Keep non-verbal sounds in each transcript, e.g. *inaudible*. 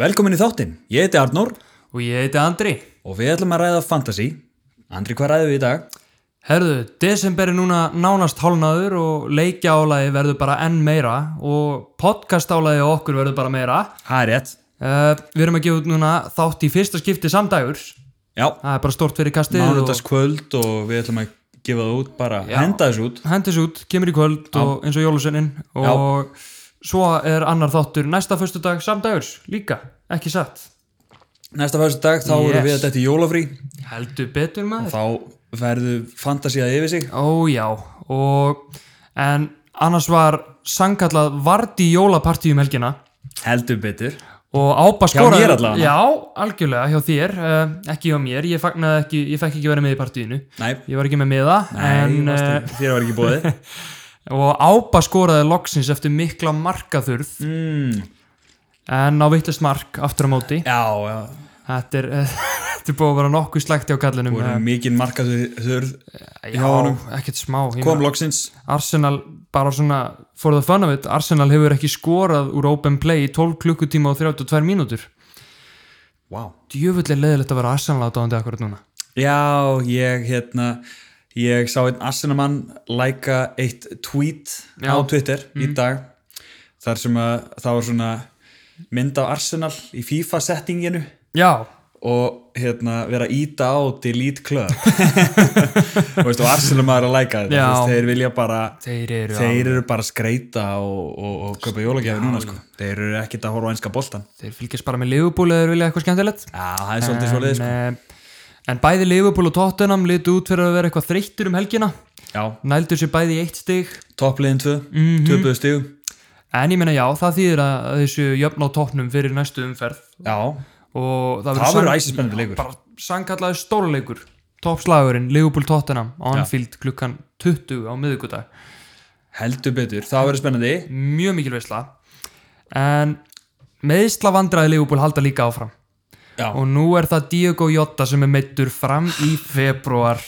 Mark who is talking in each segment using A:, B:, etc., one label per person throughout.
A: Velkomin í þáttinn, ég heiti Arnór
B: Og ég heiti Andri.
A: og við ætlum að ræða fantasy. Andri, hvað ræðum við í dag?
B: Herðu, desember er núna nánast hálnaður og leikjálaði verður bara enn meira og podcastálaði okkur verður bara meira.
A: Það er rétt.
B: Uh, við erum að gefa út núna þátt í fyrsta skipti samdagur.
A: Já,
B: Það er bara stort fyrir kastið og
A: mánudagskvöld og við ætlum að gefa það út bara, henda þessu út.
B: hendis út, kemur í kvöld og eins og jólusennin og svo er annar þáttur næsta föstudag samdagurs líka, ekki satt.
A: Næsta fyrstu dag þá
B: Yes.
A: erum við að þetta í jólafrí
B: Heldur betur maður.
A: og þá verðu fantasíða yfir sig.
B: Ó já, og en annars var sannkallað Vardí jólapartíum helgina
A: Heldur betur.
B: og ápa skoraði
A: mér allavega.
B: Já, algjörlega, hjá þér, uh, ekki hjá mér ég fagnaði ekki, ég fekk ekki verið með í partíinu
A: Nei,
B: ég var ekki með með það
A: en,
B: en,
A: uh, þér var ekki bóðið. *laughs*
B: eh, og ápa skoraði loksins eftir mikla markaþurð
A: mm,
B: en á vittast mark aftur á móti
A: já, já,
B: þetta er, eh, *laughs* þetta er búið að vera nokkuð slægt hjá kallinum
A: voru mikinn markaður,
B: Eh,
A: hjá honum.
B: ekkert smá ég
A: kom
B: meina,
A: loksins.
B: Arsenal, bara svona for the fun of it, Arsenal hefur ekki skorað úr open play í 12 klukkutíma og 32 mínútur
A: Wow.
B: djöfull er leiðilegt að vera Arsenal átáðandi akkurat núna
A: Já, ég hérna ég sá einn Assenamann læka eitt tweet á
B: Já.
A: Twitter í dag þar sem að það var svona mynd á Arsenal í FIFA settinginu
B: Já,
A: og hérna vera að íta á delete club *laughs* og veist og Arsenal maður að læka þetta
B: Já.
A: þú veist, þeir vilja bara
B: þeir eru
A: þeir eru bara að skreita og, og, og köpa jólagjafi núna sko þeir eru ekkit að horfa á einska boltan
B: Þeir fylgjast bara með Liverpool eða þeir vilja eitthvað skemmtilegt
A: Já, það er svolítið svolítið sko
B: en, eh, en bæði Liverpool og Tottenham litu út fyrir að vera eitthvað þreyttur um helgina
A: Já,
B: Nældu sér bæði í eitt stig
A: toppliðin 2, mm -hmm. töpuðu stigum
B: En ég meina já, það þýðir að að þessu jöfn á toppnum fyrir næstu umferð
A: Já,
B: Og það
A: það
B: verður
A: verður
B: sang-
A: æsispennandi leikur
B: bara sannkallaður stórleikur Toppslagurinn, Liverpool Tottenham á Anfield klukkan 20 á miðvikudag
A: Heldur betur, það verður spennandi
B: Mjög mikil veisla En meðsla vandraði Liverpool halda líka áfram
A: Já.
B: Og nú er það Diego Jota sem er meittur fram í februar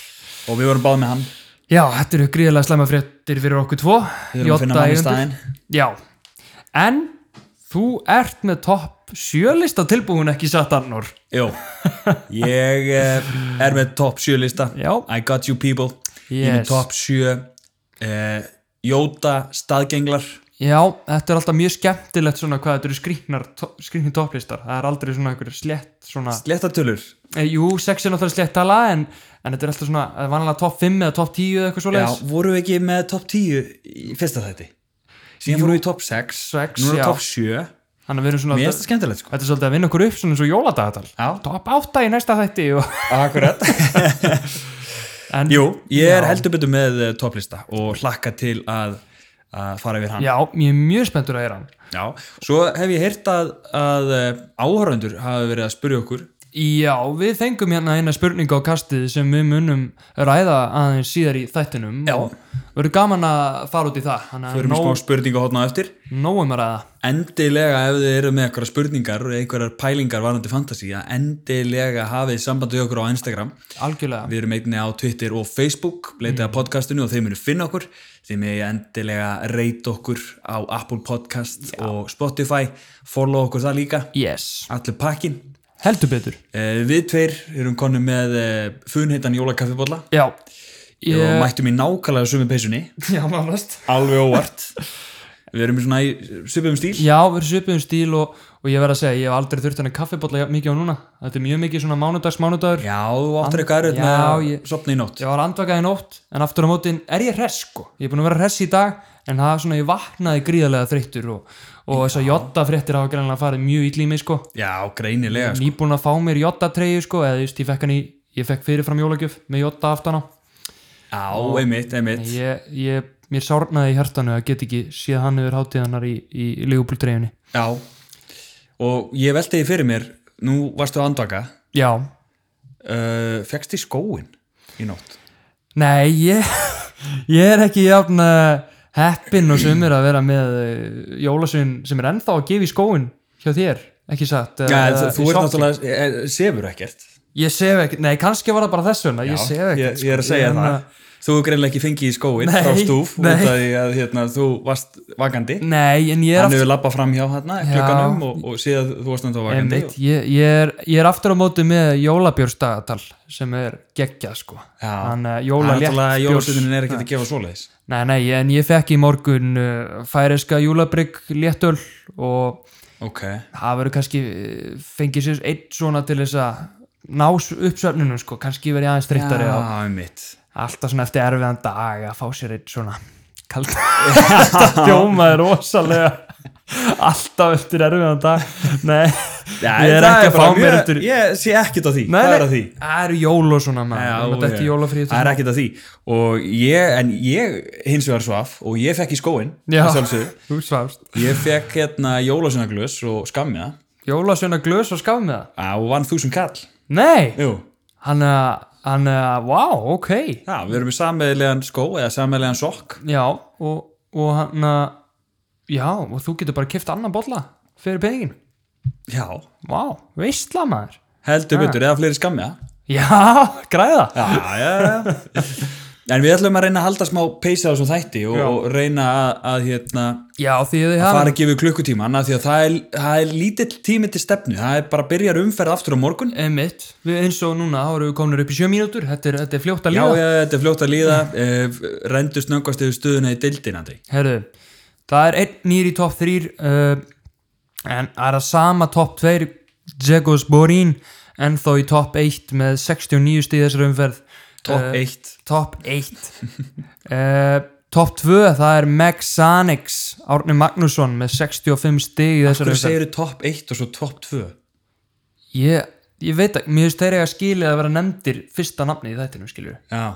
A: og við vorum báð með hann
B: Já, þetta eru gríðarlega slæma fréttir fyrir okkur tvo
A: Við vorum að finna hann í
B: eigendur.
A: staðinn
B: Já, en þú ert með topp sjölista tilbúin ekki satt annor
A: Jó, ég eh, er með top 7 lista
B: Já.
A: I got you people Ég er með
B: Yes.
A: top 7 eh, Jóta staðgenglar
B: Já, þetta er alltaf mjög skemmtilegt svona hvað þetta eru skrýknar, to skrýknir topplistar það er aldrei svona einhver slett svona,
A: Slettatölur
B: e, jú, sex er náttúrulega slett tala en, en þetta er alltaf svona, eh, vanalega topp 5 eða topp 10 eða eitthvað
A: Já,
B: svoleiðis
A: voru við ekki með top 10 í fyrsta þætti Síðan fórum við í top 6
B: Sex,
A: Nú
B: já.
A: erum top 7
B: Þannig að við erum svona,
A: Mér er
B: alltaf,
A: þetta skemmtilegt sko
B: þetta er svolítið að vinna okkur upp svona eins og jóladagatal
A: Já.
B: topp 8 í næsta þætti og, *laughs*
A: Akkurat *laughs*
B: en,
A: Jú, ég er
B: Já.
A: heldur betur með eh, topplista og hlakka til að, að fara yfir hann
B: Já, ég er mjög spenntur að heyra hann
A: Já, svo hef ég heyrt að, að áhörðendur hafi verið að spyrja okkur
B: Já, við fengum hérna eina spurningu á kastið sem við munum ræða aðeins síðar í þættinum
A: Já.
B: og verður gaman að fara út í það
A: Þau
B: þannig
A: eru með
B: að
A: smá spurninga hóðna eftir
B: nógum að ræða
A: Endilega ef þið eru með eitthvað spurningar og einhverjar pælingar varandi fantasy að endilega hafið sambandi okkur á Instagram
B: algjörlega
A: Við erum einnig á Twitter og Facebook leitið að podcastinu og þeir munu finna okkur þeir megi endilega reyta okkur á Apple Podcast og Spotify follow okkur það líka
B: Yes,
A: allir pakkin
B: heldur betur
A: Við tveir erum konu með eh, funheitan jólakaffibólla
B: Já,
A: og
B: ég,
A: mættum í nákvæmlega sömu peysunni
B: *laughs* já, nánast
A: alveg óvart við erum svona í svipum stíl
B: Já, við erum svipið um stíl og, og ég verð að segja, ég hef aldrei þurft henni kaffibólla jafn mikið á núna Þetta er mjög mikið svona mánudags, mánudagur
A: já, þú áttir eitthvað erut
B: Já,
A: með að
B: ég-
A: sopna í nótt
B: Ég var andvakað í nótt, en aftur á mótin er ég hress sko Ég er búin að vera hress í dag, en það er svona, ég vaknaði gríðarlega þreyttur og, og þess að jotta fréttir hafa greinlega farið mjög ítli í mig sko
A: já, greinilega sko.
B: nýbúin að fá mér jottatreyju sko eða þú veist, ég fekk hann í, ég fekk fyrirfram jólagjöf með jotta aftan á
A: já, einmitt, einmitt
B: ég, ég, mér sárnaði í hjartanu að get ekki séð hann yfir hátíðanar í, í lífbúltreyjunni
A: já. og ég velti því fyrir mér nú varstu að andvaka
B: já,
A: uh, fegst í skóin í nótt
B: nei ég, ég er ekki jafn eh, heppinn og sumir að vera með eh, jólasvein sem er ennþá að gefa í skóin hjá þér, ekki satt eh,
A: já,
B: eða
A: þú
B: í
A: er
B: sokkin.
A: náttúrulega, eh, sefur ekkert
B: ég sef ekkert, nei kannski var það bara þess vegna ég sef ekkert
A: ég, ég er að segja
B: sko.
A: það
B: Ég hérna-
A: Þú er greinlega ekki fengið í skóin
B: Nei,
A: frá stúf út
B: nei.
A: af því að hérna, þú varst vakandi
B: nei, en ég er
A: Hann
B: aftur
A: hefur labbað fram hjá hérna
B: Já.
A: klukkanum og, og séð að þú varst ennþá vakandi
B: einmitt, ég, ég, er, ég er aftur á móti með jólabjörnsdagatal sem er geggjað sko hann uh, jóla létt
A: Jólastunin er ekki að gefa svoleiðis
B: nei, nei, en ég fekk í morgun uh, færeska jólabrygg léttöl og
A: Ok,
B: það verður kannski eh, fengið sér einn svona til þess að ná s- upp svefnunum sko, kannski verið aðeins þreyttari og
A: einmitt
B: alltaf svona eftir erfiðan dag að fá sér einn svona
A: *laughs*
B: kalda alltaf djómaði rosalega alltaf eftir erfiðan dag nei, ég er
A: það
B: ekki að
A: bara
B: fá mér
A: mjög-
B: eftir
A: Ég sé ekkert að því,
B: Nei,
A: það er
B: nei,
A: að því
B: það eru jól og svona
A: Já,
B: maður þetta er
A: já.
B: ekki jólafríð
A: það er ekkert að því og ég, en ég hins vegar svaf og ég fekk í skóin að sjálfsögðu.
B: þú svafst
A: ég fekk hérna jólasjónaglös og skammiða
B: Jólasveina glös og skaf með það
A: og vann þúsund kall
B: nei,
A: Jú.
B: hann að hann að, wow, ok
A: Já, við erum með sammeðilegan skó eða sammeðilegan sokk
B: já, og, og hann að já, og þú getur bara kift annan bolla fyrir peningin,
A: Já,
B: wow, veistla maður
A: heldur betur, eða fleiri skammiða
B: já, *laughs* græða
A: Já, já, já En við ætlum að reyna að halda smá peysa á þessum þætti og,
B: Já.
A: og reyna að, að hérna,
B: Já, því að þið
A: fara
B: hafa
A: að gefa klukkutíma annað því að það er, það er lítill tími til stefnu það er bara að byrja umferð aftur á morgun
B: emitt, við eins og núna þá erum við komin upp í sjö mínútur, þetta er, þetta er fljótt að
A: Já,
B: líða
A: já, þetta er fljótt að líða eh, rendu snöggast yfir stöðuna í deildinandi
B: Herðu, það er einn nýr í topp þrýr uh, en það er að sama topp tveir Jegos Borín ennþá í topp 1 með 69 stíð þessar umferð
A: Topp
B: Eh,
A: 1
B: Topp 1 uh, Topp 2, það er Meg Sanix Árni Magnússon með 65 stíð í þessar
A: Hvernig
B: umferð
A: segirðu topp 1 og svo topp 2?
B: ég, ég veit að, mér finnst þeir eiga skilið að vera nefndir fyrsta nafni í þættinu skilju
A: Já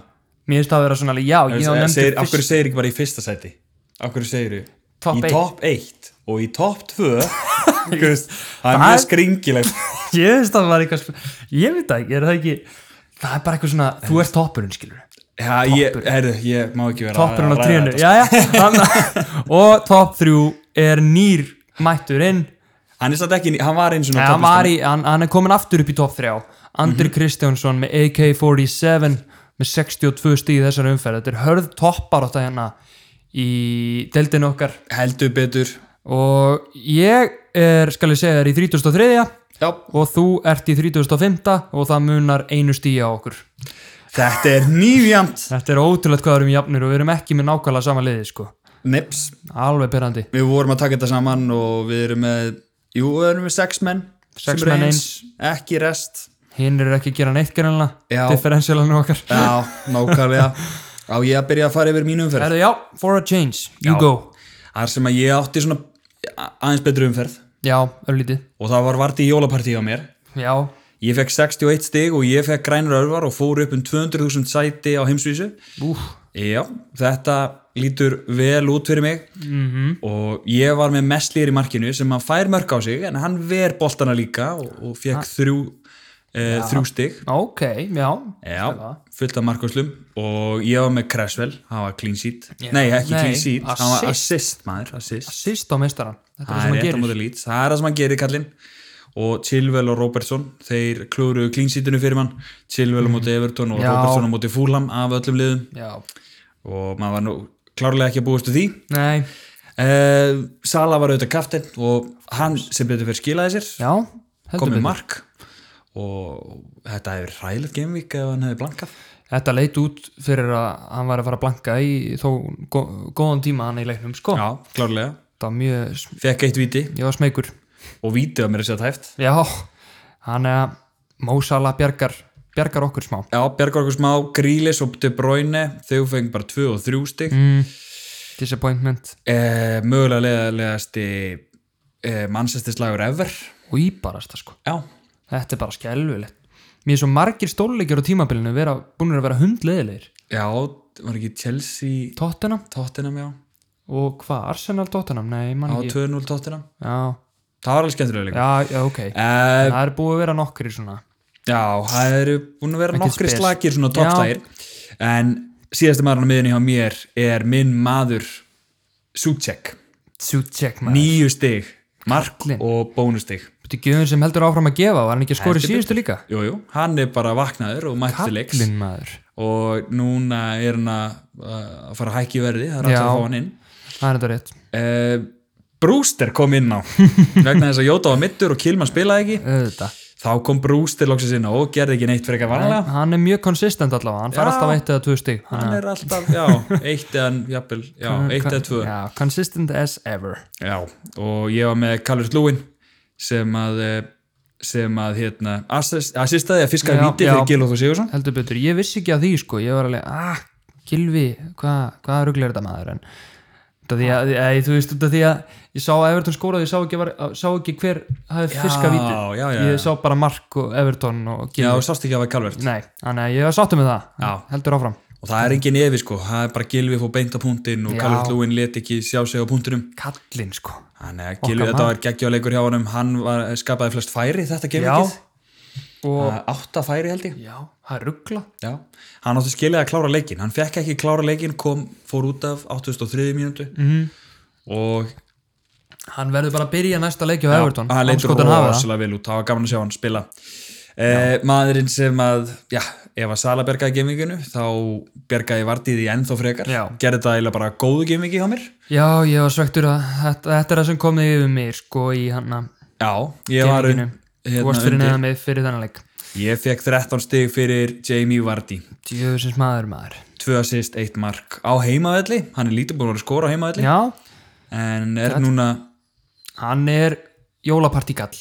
B: Mér finnst það að vera svona alveg, já, ég á
A: Segir-
B: nefndir
A: Af
B: fyrst
A: hverju segir ekki bara í fyrsta sæti? Af hverju segirðu?
B: Topp
A: Í
B: eitt.
A: topp 1 og í topp 2
B: *laughs*
A: Það er
B: Það-
A: mjög skringilegt
B: *laughs* Ég finnst það var eitthvað, sp- ég veit það ekki, er það ekki Það er bara eitthvað svona, þú ert toppurinn, skilur
A: Já, ég, herru, ég má ekki vera að-
B: Toppurinn á
A: að ræða
B: trínu,
A: þetta.
B: já, já hann- *laughs* Og topp þrjú er nýr mættur inn
A: Hann er satt ekki, hann var eins og
B: Nei, hann, var í, hann, hann er komin aftur upp í topp þrjá
A: Mhm.
B: Andri Kristjánsson með AK-47 með 62 stíð í þessari umferð Þetta er hörð toppar átta hérna í deildinu okkar
A: Heldur betur
B: Og ég er, skal ég segja þér, í 33.
A: Já
B: og þú ert í 35. og það munar einu stíi á okkur.
A: Þetta er nýfjamt
B: Þetta er ótrúlegt hvað við erum jafnir og við erum ekki með nákvæmlega sama liði sko.
A: Nips
B: Alveg perandi.
A: Við vorum að taka þetta saman og við erum með Jú, við erum með sex menn sem
B: Sex
A: eru
B: menn
A: Ekki rest
B: Hinn er ekki að gera neitt gerðanlega,
A: Já.
B: differentialinu okkar.
A: Já, nákvæmlega Á ég að byrja að fara yfir mínu umferð
B: Erðu, já, for a change, you
A: Já.
B: go.
A: Þar sem að ég átti svona a- aðeins betri umferð
B: Já, örlítið.
A: og það var vart í jólapartíð á mér
B: Já,
A: Ég fekk 61 stig og ég fekk grænur örvar og fór upp um 200.000 sæti á heimsvísu
B: úf,
A: Já, þetta lítur vel út fyrir mig -hmm.
B: Mhm.
A: og ég var með mestlýr í markinu sem hann fær mörg á sig en hann ver boltana líka og, og fekk þrjú, eh, þrjú stig
B: ok, já.
A: Já, fullt af markvæslum og ég var með Cresswell, hann var clean sheet Nei, ekki
B: Nei,
A: clean sheet, hann var
B: assist.
A: assist maður assist.
B: Sýst á meistaran, þetta er
A: Það
B: það
A: er
B: sem að
A: rétt á
B: gerir.
A: móti lít, það er það sem hann gerir kallinn og Chilwell og Robertson, þeir klúruðu clean sheetinu fyrir mann Chilwell á móti Everton og
B: Mhm. Já.
A: Robertson á móti Fulham af öllum liðum
B: Já,
A: og maður var nú klárlega ekki að búast við því
B: nei,
A: Uh, Sala var auðvitað kaftin og hann sem betur fyrir skilaði sér
B: já, heldur
A: komið
B: betur.
A: mark og þetta hefur ræðilegt gamevík ef hann hefði blankað
B: Þetta leit út fyrir að hann var að fara að blanka í þó gó, góðan tíma hann í leiknum, sko.
A: Já, klárlega,
B: Það var mjög,
A: fekk eitt viti
B: ég var smeykur
A: og viti var mér að segja tæft
B: já, hann er Mósala bjargar, bjargar okkur smá
A: Já, Bjargar okkur smá, Grílis og De Bruyne þau fengi bara 2 og 3 stig mm.
B: disappointment
A: mögulega leðalegasti uh, mannsæstislægur ever
B: og íbarast það sko,
A: Já,
B: þetta er bara skelvilegt mér er svo margir stórleikir á tímabilinu vera, búinir að vera hundleðilegir
A: já, var ekki Chelsea
B: Tottenham
A: Tottenham, já,
B: og hvað, Arsenal Tottenham, nei,
A: á
B: mann ekki
A: 2-0 Tottenham
B: já,
A: Það var alveg skemmtilega líka
B: já, já, ok
A: Eh,
B: það er búið að vera nokkri svona
A: Já, það eru búin að vera
B: Ekkert
A: nokkri
B: spes.
A: slagir svona
B: Já.
A: toppslægir en síðasti maður á miðinni hjá mér er minn maður Suchek,
B: Suchek maður,
A: nýju stig mark
B: Kallinn.
A: og bónustig
B: Þetta er gjöfun sem heldur áfram að gefa, var hann ekki að skora í
A: Heldur
B: síðustu líka?
A: jú, jú, hann er bara vaknaður og mætti til leiks
B: Kallinn maður.
A: og núna er hann að eh, að fara að hækki verði, það er
B: Já.
A: alltaf að fá hann inn
B: Það er þetta rétt.
A: uh, Brewster kom inn
B: *laughs*
A: á vegna þess að Jóta var mittur og Kilman spilaði ekki
B: Auðvitað.
A: þá kom Brewster loksins inn á og gerði ekki neitt fyrir eitthvað
B: En
A: vanlega
B: Hann er mjög konsistent allavega, hann fær
A: Já.
B: alltaf eitt eða tvö stig.
A: hann er *laughs* alltaf, já, Ah. eitt eða jafnvel, já, eitt eða tvö
B: Já, consistent as ever.
A: Já, og ég var með Callur Lúin sem að eh, sem að hérna assist- assistaði að fiska
B: Já,
A: víti
B: já.
A: fyrir Gilóð og Sigursson
B: Heldur betur, ég vissi ekki að því sko, ég var alveg, ah, Gilvi, hvað hva ruglir þetta maður? En, út af því að, að, þú veist, út af því að ég sá að Everton skóraði, ég sá ekki, var, sá ekki hver hafi
A: Já,
B: fiska víti.
A: já, já, já.
B: Ég sá bara Mark og Everton og
A: Já,
B: Gilvi.
A: sást ekki að það var Calvert
B: Nei, þannig að ég var sáttum með það.
A: Já.
B: Heldur áfram.
A: og það er engin efi sko, það er bara Gilvi fór beint á punktinn og
B: Já.
A: Callur Lúin let ekki sjá sig á punktinum
B: Kallinn sko.
A: Þannig að Gilvi,
B: Okkar
A: þetta
B: maður.
A: var geggjáleikur hjá honum hann var, skapaði flest færi þetta
B: Já.
A: geimvikið Eh,
B: Og,
A: átta færi held ég
B: já, það er ruggla.
A: Já, hann átti skiljaði að klára leikin hann fekk ekki klára leikin, kom, fór út af 83. mínútu
B: Mhm.
A: -hmm. og
B: Hann verður bara að byrja næsta leiki á Everton.
A: hann leitur
B: Andskotan hafa það.
A: rosalega vel út, það var gaman að sjá hann spila eh, maðurinn sem að já, ef að Sala bergaði geminginu þá bergaði Vardíði ennþá frekar
B: Já.
A: gerði það eiginlega bara góðu gemingi hjá mér
B: Já, ég var svektur að þetta, þetta er það sem komið yfir mér sko í hann að
A: já, ég var hérna,
B: Geminginu. Þú varst fyrir neðan mig fyrir þennan leik
A: ég fekk 13 stig fyrir Jamie Vardí
B: Djöfusins maður maður
A: 2 assist, 1 mark á heimavelli hann er lítið búin að vera að skora á heimavelli
B: Já,
A: en er núna,
B: hann er jólapartíkall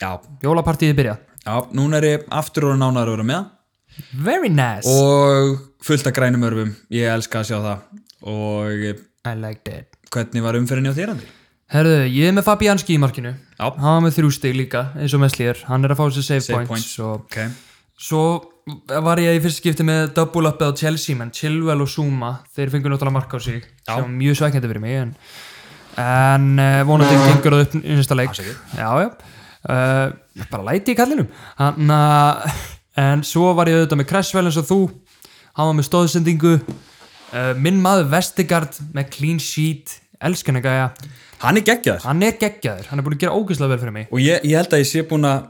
A: já,
B: Jólapartíði byrja
A: já núna er ég aftur og nánar að vera með
B: Very nice
A: og fullt af grænum örfum ég elska að sjá það og
B: I like that
A: hvernig var umferðinni á þér Andri?
B: Herðu, ég er með Fabianski í markinu
A: Já.
B: Hann var með þrjústig líka, eins og Meslýr Hann er að fá sér save,
A: Save
B: points, og
A: Ok,
B: Svo var ég í fyrst skipti með double upið á Chelsea menn Chilwell og Zuma, þeir fengur náttúrulega mark á sig Já. sem var mjög svekkjandi fyrir mig en, en uh, vonandi gengur það upp í næsta leik
A: Afsakið.
B: Já, já uh, bara læti í kallinum Hann, uh, en svo var ég auðvitað með Cresswell eins og þú hann var með stóðsendingu uh, minn maður Vestigard með clean sheet elskan ekki að
A: hann er geggjaður
B: hann er geggjaður, hann er búin að gera ógeðslega vel fyrir mig
A: og ég, ég held að ég sé búin að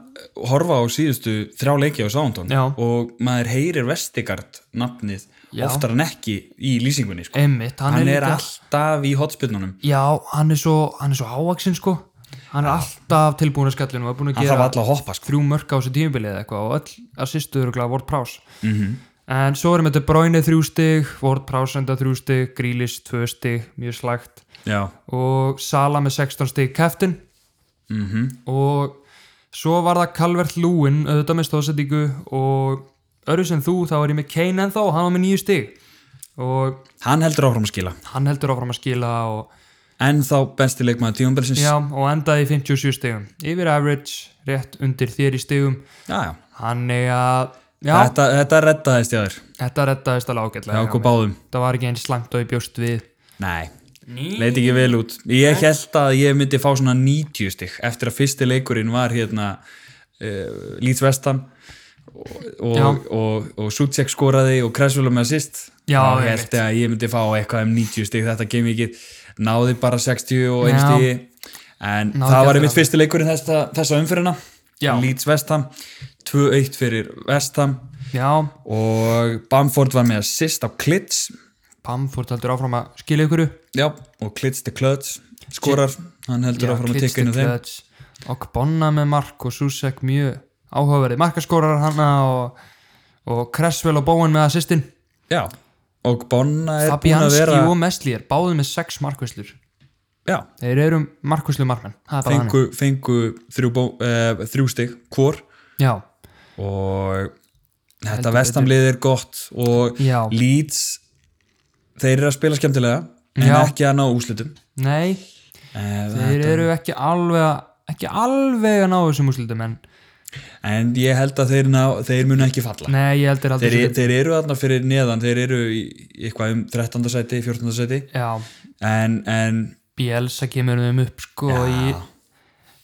A: horfa á síðustu þrjá leiki á Sándón
B: Já.
A: og maður heyrir Vestigard nafnið
B: Já.
A: oftar en ekki í lýsingunni sko.
B: Einmitt, hann,
A: hann er
B: líka-
A: alltaf í hotspinnunum
B: Já, hann er svo, hann er svo ávaksinn sko Hann er alltaf tilbúin að skallinu og er búin að
A: hann
B: gera
A: þarf alltaf að hoppa sko.
B: þrjú mörk á þessu tímabilið eða eitthvað og öll assistu eru glæð Ward Prowse
A: Mhm.
B: -hmm. En svo erum þetta Bróini þrjú stig, Ward Prowse enda þrjú stig, Grílis tvö stig, mjög slægt
A: já,
B: og Sala með 16 stig keftin
A: Mhm.
B: mm -hmm. og svo var það Calvert Lúin auðvitað með stóðsendingu og öru sem þú, þá er ég með Kane ennþá og hann var með nýju stig og
A: hann heldur áfram að skila
B: hann heldur áfram að skila og
A: en þá besti leikmaður tíumbelsins
B: Já, og endaði í 57 stegum yfir average, rétt undir þér í stegum
A: já, já.
B: þannig að já,
A: Þetta, þetta reddaðist ég þér
B: þetta reddaðist alveg ágætlega
A: hjá okkur báðum
B: það var ekki eins slangt og ég bjóst við
A: nei, leit ekki vel út ég held að ég myndi fá svona 90 stygg eftir að fyrsti leikurinn var hérna uh, Leeds Vestam og,
B: Já.
A: og, og, og Sucek skoraði og Kressvölu með assist
B: Já,
A: Þá
B: einmitt.
A: held ég að ég myndi fá eitthvað um 90 stygg þetta kemur ekki, náði bara 60 og 1
B: Já.
A: stigi en það
B: Náði ekki
A: var
B: aftur
A: einmitt fyrsti leikurinn þessa, þessa umfyrirna
B: Já.
A: Leeds Vestam 2-1 fyrir Vestam
B: já,
A: og Bamford var með assist á Klits
B: Bamford heldur áfram að skila ykkur
A: Já, og Klits the Klöts skorar, hann heldur áfram að tikka inn á þeim
B: og Bonna með Mark og Susek mjög áhugaverði markaskórar hanna og, og Cresswell og Bowen með assistin
A: Já, og Bonna er búin að
B: Fabianski
A: vera
B: og Mesli er báðið með 6 markvislur
A: Já,
B: þeir eru markvislu markmenn það er bara þannig.
A: fengu, fengu þrjú, bó, eh, þrjú stig hvor
B: já,
A: og þetta vestamlið er gott og
B: Já.
A: Leeds þeir eru að spila skemmtilega en
B: Já.
A: ekki að ná úslitum
B: Nei,
A: eh,
B: þeir eru ekki alveg að- ekki alveg að ná þessum úrslutum en
A: en ég held að þeir, ná, þeir munu ekki falla
B: nei, ég held þeir aldrei
A: þeir,
B: þeir,
A: þeir eru þarna fyrir neðan þeir eru í í eitthvað um 13. sæti 14. sæti
B: Já,
A: en, en
B: Bielsa kemur þeim upp sko í,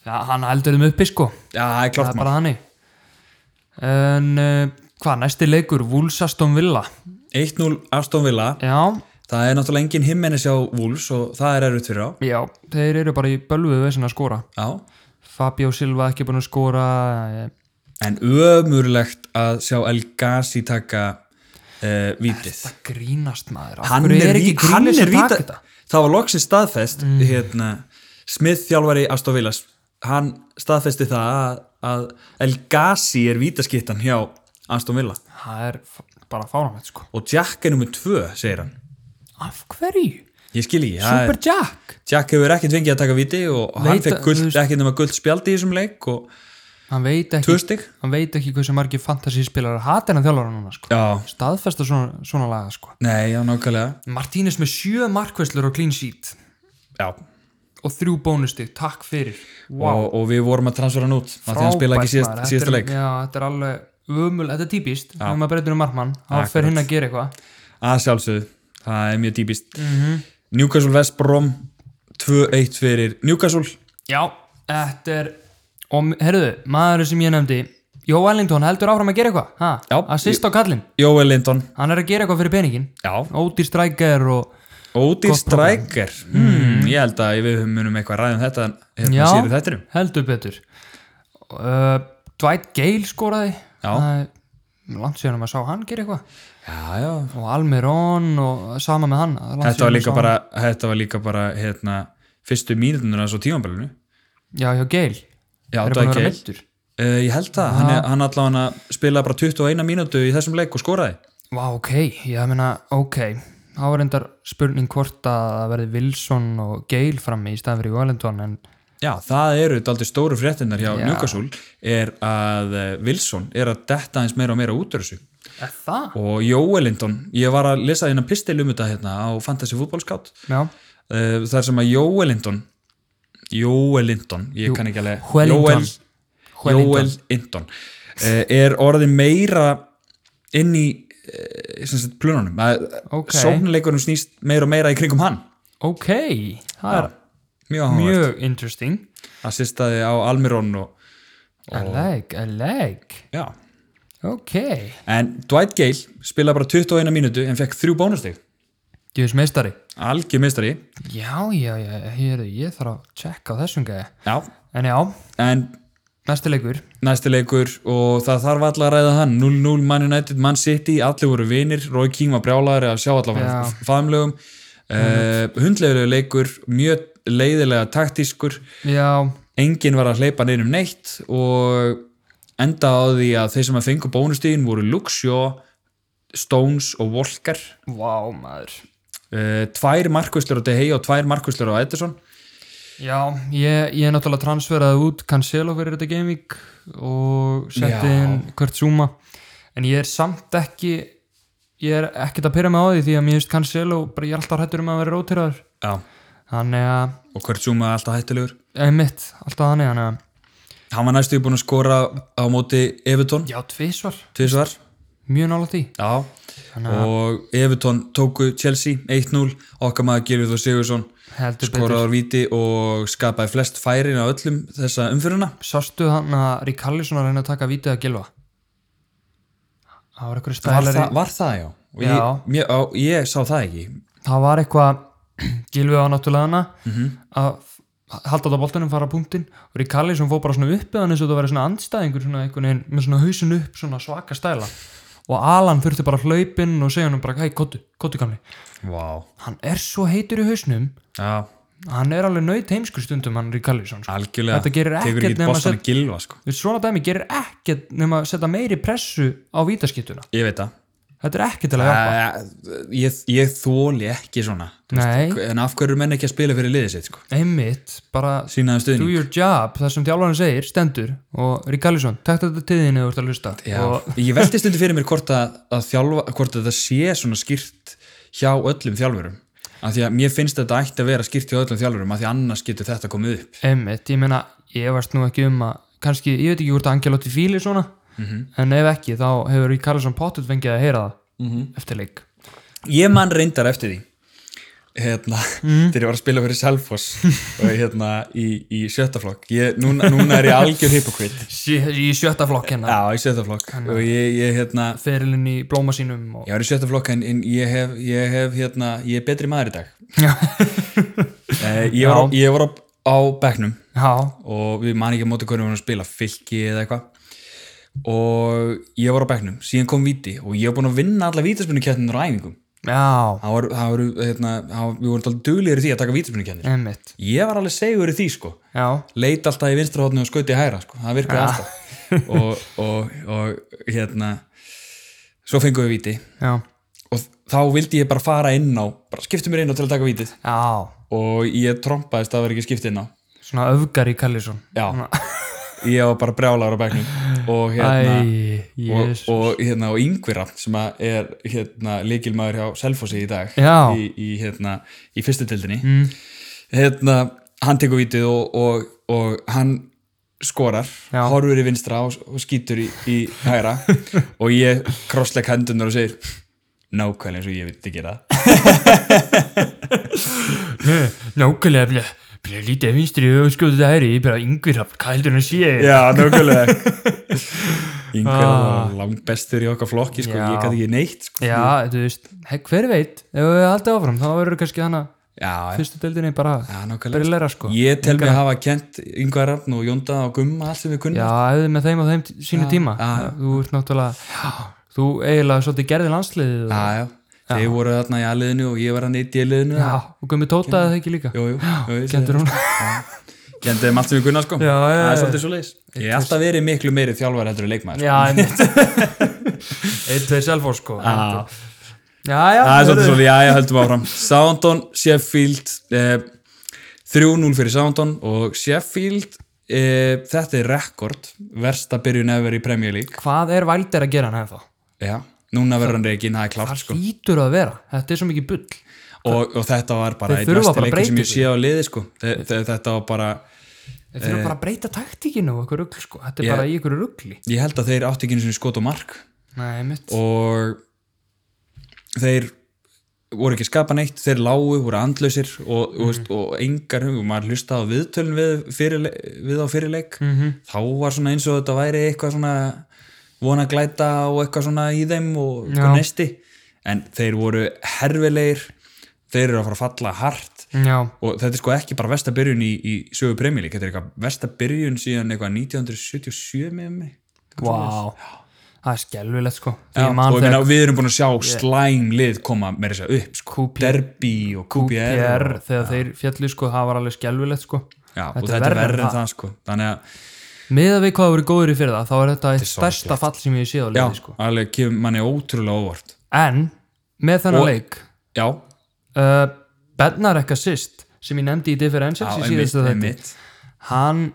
B: ja, hann heldur þeim uppi sko
A: já, það er
B: það
A: klart
B: er bara þannig eh, en uh, hvað, næsti leikur Vúlsastón Villa
A: 1-0 Aston Villa
B: Já,
A: það er náttúrulega engin himmenis hjá Wolves og það er erfitt fyrir á
B: Já, þeir eru bara í bölvuðu veginn að skora
A: já.
B: Fabio Silva ekki búin að skora eh,
A: en ömurlegt að sjá El Gassi taka uh, vítið
B: Það grínast maður Af
A: hann
B: hverju
A: er,
B: ekki
A: ví- hann
B: Grealish
A: er
B: að taka
A: vítið
B: þetta? Mm.
A: það var loksins staðfest hérna, Smith þjálfari Aston Villas hann staðfesti það að, að El Gassi er vítaskittan hjá Aston Villa
B: Það er f- bara fáramætt sko
A: og Jack er nummið tvö, segir hann
B: Af hverju?
A: ég skil ekki, það er-
B: Super Jack
A: Jack hefur ekkert fengið að taka viti og hann
B: Veit
A: fekk
B: að- þú
A: guld,
B: veist-
A: ekki nema guld spjaldi í þessum leik og
B: Hann veit
A: tvö
B: ekki,
A: stygg
B: hann veit ekki hversu margir fantasíspilar Hatt er hann þjálfara núna sko
A: já,
B: Staðfesta svona, svona laga sko
A: nei, já, nákvæmlega
B: Martínez með sjö markvæslur og clean sheet
A: já.
B: og þrjú bónustig, takk fyrir
A: Og, og við vorum að transfera hann út af því að hann spilaði ekki síðast,
B: maður. Þetta
A: síðasta
B: er-
A: leik
B: Já, þetta er alveg umul, þetta er típist þegar maður breytir um markmann, þá fer
A: Akkurat.
B: hinn að gera eitthvað
A: að sjálfsögðu, það er mjög típist
B: Mhm.
A: Newcastle West Brom 2-1 fyrir Newcastle
B: Já, þetta er og herruðu, maður sem ég nefndi Jó Ellington heldur áfram að gera eitthvað ha,
A: Já.
B: assist á kallinn,
A: Jóel Lindon
B: hann er að gera eitthvað fyrir peningin
A: já.
B: ódýr strækjar og
A: Ódýr
B: Gott program.
A: Stryker mm, ég held að við munum eitthvað ræðum þetta hérna
B: Já.
A: síður þættinum
B: heldur betur uh, Dwight Gale skoraði
A: Já.
B: Það er langt síðan að maður sá hann gera eitthvað
A: já, já.
B: og Almiron og sama með hann langt
A: þetta
B: síðan
A: var
B: maður
A: líka
B: sá
A: bara, þetta var líka bara hérna, fyrstu mínútunar hans á tímanbælinu
B: hann. já, já, Gale
A: já,
B: Er hann búinn að
A: Dwight
B: vera
A: Gale
B: meiddur?
A: Uh, ég held það, hann, er- hann allavega spilaði bara 21 mínútu í þessum leik og skoraði
B: Vá, ok, ég meina, ok þá er endar spurning hvort að það verði Wilson og Gale frammi í staðan fyrir Jóalendon en
A: Já, það eru daldi stóru fréttinnar hjá
B: Já.
A: Newcastle er að eh, Wilson er að detta eins meira og meira út úr þessu
B: er það?
A: og Jóelindon, ég var að lesa hérna pistil um þetta hérna á Fantasy Football Scout
B: Já,
A: uh, þar sem að Jóelindon Jóelindon, ég kann ekki alveg
B: Wellington.
A: Jóel- Jóel Indon uh, er orðið meira inn í uh, plununum
B: Ok.
A: okay. sóknleikunum snýst meira og meira í kringum hann
B: ok það er
A: mjög áhugað
B: mjög interesting
A: að sýstaði á Almirón og,
B: I like, I like
A: já.
B: ok,
A: en Dwight Gale spilaði bara 21 mínútu en fekk þrjú bónustig
B: djús meistari
A: algjör mistari
B: já, já, já, hér, ég þarf að checka á þessum gæði
A: já.
B: en já,
A: en
B: næsti leikur
A: næsti leikur og það þarf allar að ræða hann 0-0 Man United, Man City, allir voru vinir Roy King var brjálæður að sjá allar
B: Já.
A: faðumlegum uh, hundlegulegu leikur, mjög leiðilega taktískur,
B: já,
A: enginn var að hleypa neinum neitt og enda á því að þeir sem að fengu bónustíðin voru Luxjó, Stones og Walker
B: vá maður
A: Uh, tvær markvöslur á De Gea og tvær markvöslur á Ederson
B: Já, ég, ég náttúrulega transferaði út Cancelo fyrir þetta gaming og setti
A: Já.
B: inn Kurt Zuma en ég er samt ekki ég er ekkert að pyrra mig á því því að mér finnst Cancelo bara ég er alltaf hættur um að vera rótýraður
A: já.
B: þannig að,
A: og hvert Zuma er alltaf hættulegur
B: einmitt, alltaf þannig þannig að,
A: hann var næstu búin að skora á móti Everton
B: já, tvisvar
A: tvisvar
B: mjög nála því
A: já. og Everton tóku Chelsea 1-0 okkar maður Gilvið og Sigursson
B: heldur betur,
A: skoraður víti og skapaði flest færin á öllum þessa umfyruna
B: sástu hann að Ríkarlisson að reyna að taka vítið að gilva það var eitthvað
A: var,
B: stælari
A: það- var það já, Og
B: Já.
A: Ég, mér, á, ég sá það ekki
B: það var eitthvað *clears throat* gilfið á náttúrulega hana
A: Mhm.
B: að f- halda þetta boltanum fara á punktinn og Ríkalli sem fór bara svona upp eða eins og það væri svona andstæðingur svona einhvern veginn með svona hausin upp svona svaka stæla og Alan þurfti bara hlaupinn og segja hann bara hei kottu, kottu gamli
A: wow.
B: hann er svo heitur í hausnum
A: já,
B: hann er alveg nöyt heimskur stundum hann Ríkalli sko.
A: algjörlega
B: Þetta gerir
A: tekur
B: ekkert
A: ekki
B: nema að
A: bostan að Gilva sko.
B: Við svona dæmi gerir ekkert nema að setja meiri pressu á vítaskittuna
A: ég veit það
B: þetta er ekkert til að hjálpa
A: Æ, ég, ég þóli ekki svona þú
B: Nei.
A: en af hverju eru menn ekki að spila fyrir liðið sitt sko?
B: einmitt, bara
A: sínaðum
B: do
A: stuðning
B: your job, það sem þjálfarinn segir, stendur og Rík Allison, takk þetta til þín eða þú ert að hlusta
A: Já,
B: og
A: ég velti stundu fyrir mér hvort að, að þjálfa, hvort að það sé svona skýrt hjá öllum þjálfurum af því að mér finnst þetta ætti að vera skýrt hjá öllum þjálfurum af því að annars getur þetta komið upp
B: einmitt, ég meina, ég varst nú ekki um að kannski, ég veit ekki hvort að Angelotti fíli svona
A: Mhm.
B: en ef ekki, þá hefur
A: Mhm.
B: Rík Allison pottet fengið að heyra það eftir leik
A: ég man reyndar eftir því hérna, þegar ég var að spila fyrir Selfoss og hérna í, í sjöttaflokk ég, núna, núna er ég algjör hypokrit
B: í sjötta flokk hennar,
A: já, í sjöttaflokk og ég, ég hérna
B: ferilinn í blóma sínum og...
A: ég var í sjöttaflokk en, en ég hef, ég hef hérna, ég er betri maður í dag
B: já,
A: eh, ég var, á- ég var á, á bekknum
B: já,
A: og við man ekki á móti hvernig við vorum að spila fylki eða eitthvað og ég var á bekknum, síðan kom viti og ég var búin að vinna alla vítaspunnikettnir á æfingum
B: já,
A: það voru, það voru, hérna, það voru, við vorum alltaf duglegir í því að taka vítaspunnikettnir
B: einmitt
A: ég var alveg segur í því sko
B: já,
A: leit alltaf í vinstrahotni og skauti í hæra sko. það virkaði alltaf og, og, og hérna svo fengum við viti
B: já,
A: og þá vildi ég bara fara inn á bara skipti mér inn á til að taka vitið
B: já
A: og ég trompaðist að það vera ekki skipt inn á
B: svona öfgar í Kallison
A: já, *laughs* ég var bara brjálagur á bekknum og hérna
B: æ,
A: og,
B: jés
A: og hérna og yngvira sem að er hérna líkilmaður hjá Selfossi í dag
B: Já.
A: í, í hérna í fyrstu tildinni mm. hérna hann tekur vitið og, og, og hann skorar,
B: Já.
A: horfur í vinstra og, og skýtur í, í hæra og ég krossleik hendunar og segir nákvæmlega eins og ég veit ekki það
B: nákvæmlega blei blei lítið vinstri og skjóðu þetta hæri ég bara yngvir hafn, hvað heldur hann að sé
A: já, *laughs* nákvæmlega yngvira var langbestur í okkar flokki sko,
B: Já.
A: ég gæti ekki neitt sko.
B: já, þú veist, he- hver veit ef við haldið áfram, þá verður kannski hana
A: já,
B: fyrstu deildinni bara
A: já, nákvæmlega
B: byrjuleira sko
A: Ég tel mig að hafa kent Yngvar Rafn og Jónda og Gumma allt sem við kunnum.
B: já, hefði með þeim á þeim t- sínu tíma
A: já.
B: þú ert náttúrulega þú eiginlega svolítið gerði landsliðið og,
A: já, já. Þeir voru þarna í aðliðinu og ég var hann í D-liðinu.
B: já, og gummi tótaði það ekki líka
A: Jú, jú, jú, ég segi
B: kendur hún
A: það. Kendi þeim allt sem við kunnum sko.
B: Já, já,
A: Það
B: já.
A: er svolítið svo leiðis. Ég hef alltaf verið miklu meiri þjálfar heldur en leikmaður. sko.
B: *laughs* já, einmitt eitt, tveir selfór sko já,
A: Já.
B: já, já
A: Það er svolítið
B: heyrðu.
A: svo leiðis. Já, já, höldum áfram. Soundon, Sheffield, eh, 3-0 fyrir Soundon og Sheffield, eh, þetta er rekord, versta byrjun ever í Premier League.
B: hvað er Vælder að gera hann hefði þá?
A: Já, núna verður hann reygin, það er klart
B: Það
A: sko.
B: hlýtur að vera, þetta er svo mikið bull
A: og, og þetta var bara
B: Þeir
A: einn
B: þurfa
A: mesti
B: bara að
A: leikur sem ég
B: breyta
A: sé á liði sko. Þe, þe, þetta var bara,
B: Þeir þurfa
A: Eh,
B: bara að breyta taktíkinu og eitthvað rugl sko Þetta er bara í eitthvað rugli
A: ég held að þeir átti ekki einu sinni skot og mark
B: Nei, mitt
A: og þeir voru ekki að skapa neitt, þeir lágu voru andlausir og, mm. veist, og engar hugum, maður hlustaði á viðtölun við, fyrir, við á fyrirleik -hmm. þá var svona eins og þetta væri eitthvað svona vona glæta og eitthvað svona í þeim og
B: Já.
A: eitthvað nesti en þeir voru herfilegir þeir eru að fara að falla hart
B: Já,
A: og þetta er sko ekki bara versta byrjun í, í sögu premjölík, þetta er eitthvað versta byrjun síðan eitthvað 1977 með mig
B: vá Það er skelvilegt sko
A: Já,
B: Því ég man
A: og ég meina,
B: þegar
A: við erum búin að sjá slæm lið koma meira þess að segja upp sko.
B: QPR
A: derbi og QPR
B: Þegar
A: og,
B: þeir fjallu sko, það var alveg skelvilegt sko
A: já, og þetta er verður en það sko. þannig að,
B: Miðað við hvað það voru góður í fyrir það, þá er þetta eitt stærsta fall sem ég sé á
A: já,
B: liði sko
A: alveg kemur manni ótrúlega óvart
B: En, með þennan leik
A: já,
B: uh, Bennar ekka sýst sem ég nefndi í
A: já,
B: Differentials í síðustu þetta
A: einmitt
B: Hann,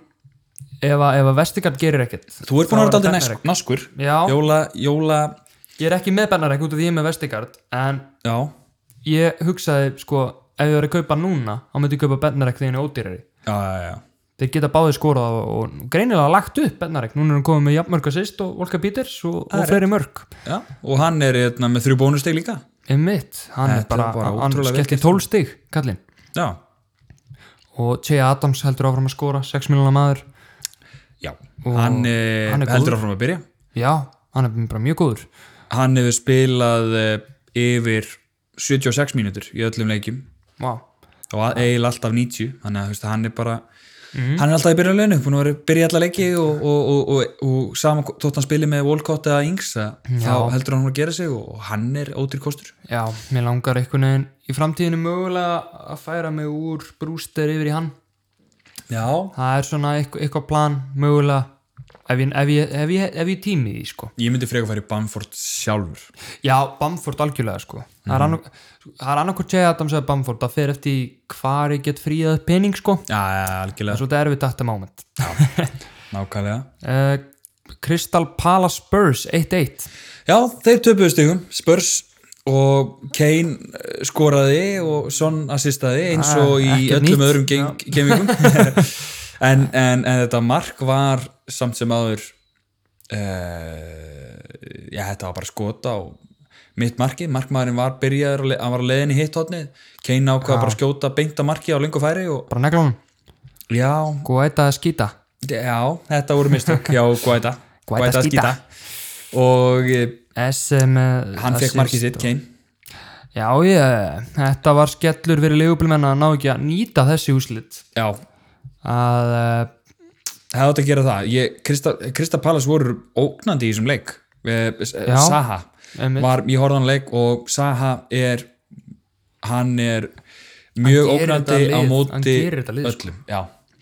B: ef að- ef að Vestigard gerir ekkert
A: þú ert búin að
B: þá er
A: vera
B: það
A: daldið
B: Bennar
A: nask, naskur
B: Já.
A: jóla, jóla,
B: Ég er ekki með Benarek út af því ég er með Vestigard en
A: já
B: ég hugsaði sko ef ég var að kaupa núna þá myndi ég kaupa Benarek þegar hann er ódýrari
A: já, já, já,
B: þeir geta báði skorað og, og greinilega lagt upp Benarek, núna er hann komið með jafnmörk að sýst og Volka Peters og, og fleiri mörk
A: já og hann er hérna, með þrjú bónusteg líka
B: einmitt, hann
A: Þetta
B: er bara,
A: er bara
B: hann
A: ótrúlega vel
B: skellti 12 stig kallinn
A: já,
B: og Jay Adams heldur áfram að skora 6 miljonar maður,
A: já, hann, eh,
B: hann er góður.
A: heldur áfram að byrja
B: já, hann er bara mjög góður
A: hann hefur spilað eh, yfir 76 mínútur í öllum leikjum
B: Vá.
A: og að- eiginlega alltaf 90 þannig að þú veist, hann er bara hann er alltaf í byrjunleginu, búin að vera að byrja alla leiki og, og, og, og, og sama þótt hann spili með Wolcott eða Ings að þá heldur hann að gera sig og hann er ótrýr kostur
B: já, mér langar einhvern veginn í framtíðinu mögulega að færa mig úr brúster yfir í hann
A: já,
B: það er svona eitthvað, eitthvað plan mögulega ef ég, ef ég, ef ég, ef ég tími því sko.
A: ég myndi frekar fara í Bamford sjálfur
B: já, Bamford algjörlega sko. það
A: Mhm.
B: er annað- það er annarkvort segja Adams eða Bamford það fer eftir í hvar ég get fríðað pening sko.
A: já, já,
B: það er
A: algjörlega,
B: svolítið erfitt þetta moment
A: nákvæmlega
B: uh, Crystal Palace Spurs 1-1
A: já, þeir töpuðu stigum, spörs og Kane eh, skoraði og Son assistaði eins og í
B: ekkert
A: öllum
B: Ah, nýtt.
A: öðrum geng- gemingum
B: *laughs*
A: en, en, en þetta mark var eh, samt sem áður uh, já, þetta var bara skota og mitt marki, markmaðurinn var byrjaður, að le- hann var að leiðin í hitt hotni Kane ákvað bara að skjóta beinta marki á lengu færi og
B: bara negla hún,
A: já,
B: Guaita skýta
A: já þetta voru mistök, já, Guaita
B: Guaita skíta.
A: og eh,
B: SM eh,
A: hann fekk
B: assist
A: markið sitt, Kane
B: Já, ég, þetta var skellur fyrir leigubílum en að ná ekki að nýta þessi úslit
A: já,
B: að eh,
A: hefði átt að gera það ég, Krista, Krista Pallas voru ógnandi í þessum leik Eh, S- eh,
B: Já,
A: Saha
B: einmitt.
A: var, ég horfði á hann leik og Saha er hann er mjög
B: Hann gerir
A: ógnandi
B: þetta
A: á
B: lið- hann
A: móti
B: gerir þetta lið, sko.
A: öllum já.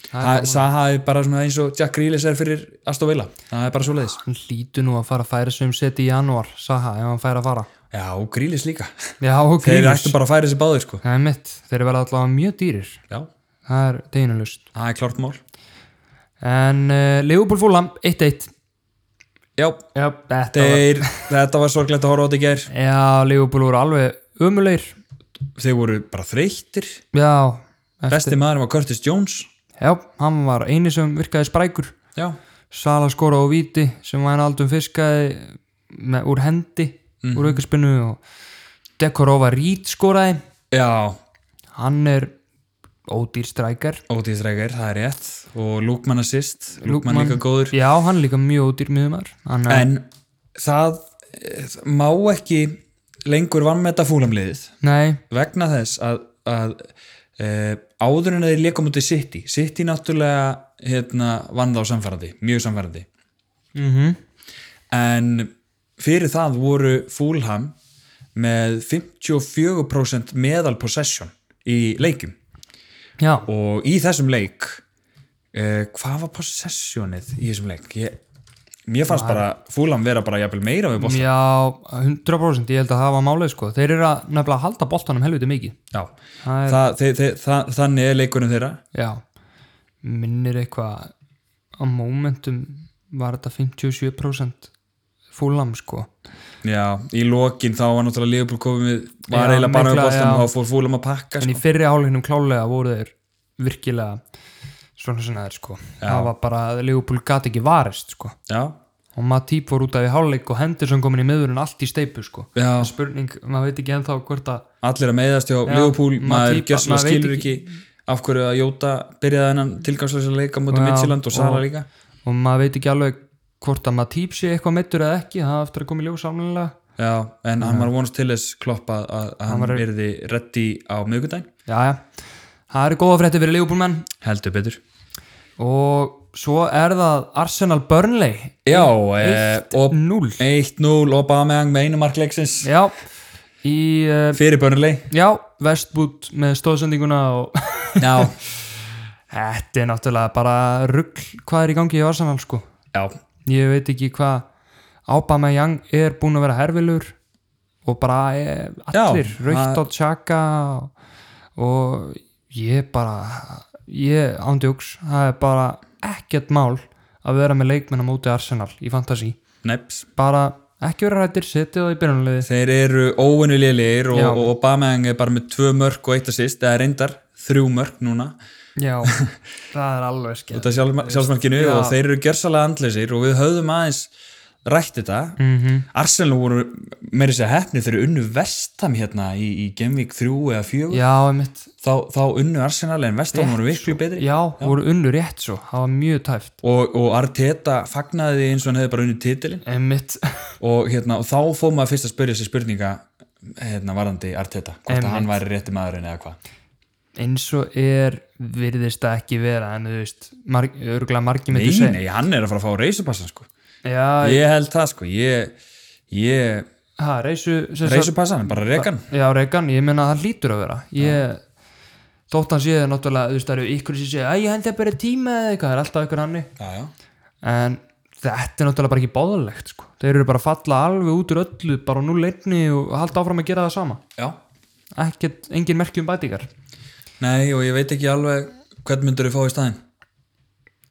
A: Það, Saha er bara svona eins og Jack Grealish er fyrir Aston Villa, það er bara svo leiðis
B: hann hlýtu nú að fara að færa sem seti í janúar, Saha, ef hann færa að fara
A: já, og Grealish líka
B: Já, ok,
A: þeir ættu bara að færa þessi báðir sko.
B: það er mitt þeir eru vel allavega mjög dýrir
A: já,
B: það er deginulust
A: það er klart mál
B: en uh, leigubíl fúlam
A: já,
B: 1-1 Já, þetta var
A: þeir, þetta var sorglegt að horfa á þetta í gær
B: Já, leigubíl voru alveg ömulegir
A: þeir voru bara þreyttir
B: Já, eh,
A: besti maðurinn var Curtis Jones
B: já, hann var eini sem virkaði sprækur
A: já,
B: Sala skora á viti sem hann aldum fiskaði með, úr hendi úr aukarspinnu og Dekorova Rít skoraði
A: já
B: hann er ódýr strækjar
A: Ódís Reykjavík, það er rétt og Lúkmann assist, Lúkmann
B: Lukman-
A: líka góður
B: já, hann er líka mjög ódýr miðumar hann er,
A: en það eh, má ekki lengur vannmeta fúlamliðið
B: nei,
A: vegna þess að, að e, áður en að þeir leikum út í City City náttúrulega hérna, vann þá samfærandi, mjög samfærandi
B: mm -hmm.
A: en fyrir það voru Fúlham með 54% meðal possession í leikum
B: já,
A: og í þessum leik uh, hvað var possessionið í þessum leik ég, mér fannst bara fúlam vera bara jafnvel meira við bóttan
B: já 100% ég held að það var málið sko þeir eru að nefnilega halda boltanum helviti mikið
A: já,
B: Það er-
A: það, þe, þe, það, þannig er leikunum þeirra
B: já, minnir eitthvað á momentum var þetta 57% fúlam sko
A: já, í lokin þá var náttúrulega Liverpool komið við var
B: Já,
A: eiginlega bara við
B: mikla-
A: bóttan
B: já.
A: og þá fór fúlam að pakka
B: en í
A: sko.
B: fyrri áleiknum klálega voru þeir virkilega svona svona þeir sko það var bara að Leopold gati ekki varist sko
A: já,
B: og Matip fór út af í háleik og Henderson komin í miðurinn allt í steipu sko
A: já,
B: spurning, maður veit ekki ennþá hvort að
A: allir að meiðast hjá Liverpool, maður
B: Matip-
A: gjörslega
B: maður veit
A: skilur ekki af hverju að Jóta byrjaði hennan tilgangslega leika mútið Midtjylland og Sala
B: og-
A: líka
B: og maður veit ekki alveg hvort að Matip sé eitthvað meittur eða ekki, það er eftir að koma í ljós samlega
A: já, en hann var vonast til þess klopp að, að hann, hann verði reddi á miðgudaginn
B: já, það eru góða frétti fyrir Leopold menn
A: Heldur betur.
B: og svo er það Arsenal Burnley
A: Já, eh, og
B: 1-0
A: 1-0 Aubameyang með einu markleiksins
B: já, í uh,
A: fyrir Burnley.
B: já, Westwood með stóðsendinguna og *laughs*
A: Já,
B: þetta er náttúrulega bara rugg hvað er í gangi í Arsenal sko
A: já,
B: ég veit ekki hvað Aubameyang er búin að vera herfilur og bara eh, allir
A: Já,
B: raukt á tjaka og ég bara ég ándjóks það er bara ekkert mál að vera með leikmenn á móti Arsenal í fantasy
A: neps.
B: bara ekki vera hættir, setja það í byrjunaliði
A: Þeir eru óinnulegir og,
B: Já.
A: og Aubameyang er bara með tvö mörk og eitt assist, eða reyndar þrjú mörk núna
B: já, það er alveg skemmt
A: út af sjálf, sjálfsmarkinu
B: Já.
A: og þeir eru gjörsalega andleysir og við höfðum aðeins rætt þetta.
B: Mhm.
A: Arsenal voru meiri sér hefni þeir eru unnu vestam hérna í, í Genvík 3 eða 4
B: já, einmitt,
A: þá, þá unnu Arsenal en vestam voru viklu betri.
B: já, voru unnu rétt svo það var mjög tæft
A: Og, og Arteta fagnaði því eins og hann hefði bara unni titilin
B: einmitt, *laughs*
A: og, hérna, og þá fór maður fyrst að spyrja sér spurninga hérna, varðandi Arteta hvort að
B: Einmitt.
A: hann væri rétti maðurinn eða hvað
B: eins og er virðist það ekki vera en þú veist, marg, örgulega margir myndu
A: nei,
B: segja
A: nei, hann er að fara að fá reisupassan sko.
B: já,
A: ég held það sko ég, ég,
B: ha, reysu sem sagt-
A: reisupassan, bara rekan
B: já, reygan, ég meina það hlýtur að vera ég, þótt hann séð náttúrulega, þú veist, það eru ykkur sem segja að ég held að bara tíma eða eitthvað, það er alltaf ykkur hannig
A: já, já.
B: en þetta er náttúrulega bara ekki báðalegt sko. þeir eru bara að falla alveg út úr öllu bara nú leitni og halda áfram að gera það sama
A: já,
B: ekkert, engin merkjum bætingar
A: nei og ég veit ekki alveg hvern myndur þú fá í staðinn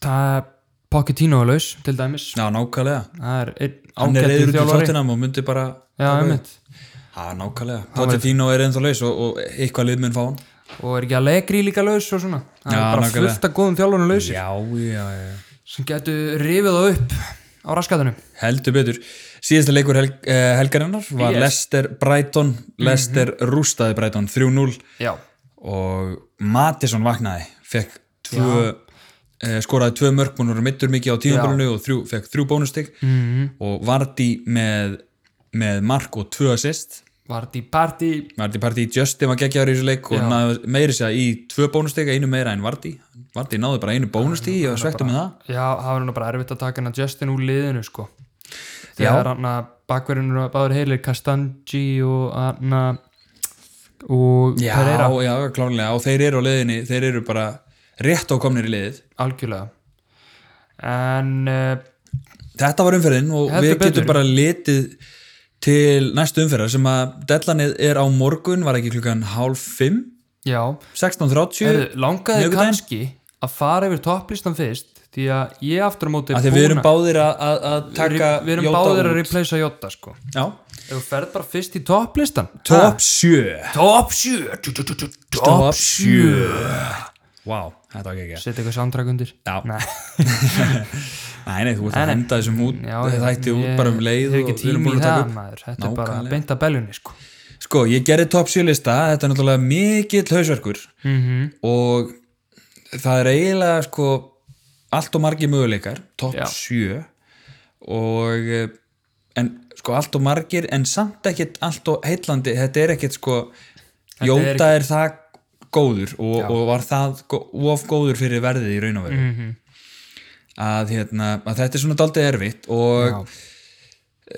B: það er Pochettino er laus til dæmis
A: já, nákvæmlega,
B: það er einn
A: hann er
B: ágættur
A: reyður út í
B: þjálfari já,
A: þóttinam og myndi bara
B: einmitt
A: já, nákvæmlega, Pochettino er ennþá laus og, og eitthvað lið mun fá hann
B: og er ekki að legri líka laus og svona það
A: Já,
B: er bara
A: nákvæmlega.
B: fullt af góðum þjálfurinn lausir
A: já, já, já
B: sem getur rifið það upp á raskatunum
A: heldur betur Síðasta leikur hel, eh, helgarinnar var
B: Yes. Mhm.
A: Lester Brighton Lester rústaði Brighton 3-0
B: já,
A: og Matisson vaknaði fekk tvö eh, skoraði tvö mörk, hún voru mittur mikið á tíðanbólinu og þrjú, fekk þrjú bónustig
B: Mhm.
A: -hmm. og Vardí með, með mark og tvö assist
B: var því party
A: Vardí partí í Justin var geggjaður í þessu leik og
B: Já.
A: náði meiri sér í tvö bónustig einu meira en Vardí Vardí náði bara einu bónustig og svektu með það
B: já, það var nú bara erfitt að taka hann að Justin úr liðinu sko þegar hann að bakverðinu báður heilir Kastanji og hann að og
A: Já,
B: Pereira
A: já, klárlega og þeir eru á leiðinni, þeir eru bara rétt á komnir í leiðið
B: algjörlega en uh,
A: Þetta var umferðin og
B: Heldur
A: við
B: betur.
A: getum bara litið til næstu umferðar sem að dellanið er á morgun, var ekki klukkan hálf 5,
B: já
A: 16.30
B: Heyrðu, langaði
A: miðvikudaginn?
B: kannski að fara yfir topplistan fyrst því að ég aftur á móti
A: af því að við erum
B: búin
A: báðir að- að að taka
B: við erum
A: Jóta
B: báðir
A: út.
B: að replacea Jota sko ef
A: Já,
B: þú ferð bara fyrst í topplistan
A: top 7
B: Top 7 Tjú, tjú, tjú, tjú,
A: Top
B: Top 7
A: 7 Vá, þetta var ekki ekki
B: Sett eitthvað soundtrack undir
A: Já.
B: Nei,
A: Nei, nei, þú ert að henda þessum út
B: já,
A: þætti út
B: ég-
A: bara um leið
B: Ég hef
A: og
B: ekki
A: við erum
B: tími
A: búin
B: í
A: að taka
B: það
A: upp.
B: maður Þetta er bara
A: Nákvæmlega.
B: beint að beljunni sko
A: Sko, ég gerði top 7 lista, þetta er náttúrulega mikill hausverkur
B: Mhm.
A: -hmm. og það er eiginlega sko allt og margi möguleikar, top
B: Já.
A: 7 og eh, en sko allt og margir en samt ekkit allt og heillandi, þetta er ekkit sko, Jóta er, það góður og, og var það gó- of góður fyrir verðið í raun og veru
B: Mhm.
A: -hmm. að, hérna, að þetta er svona daldið erfitt og
B: Já.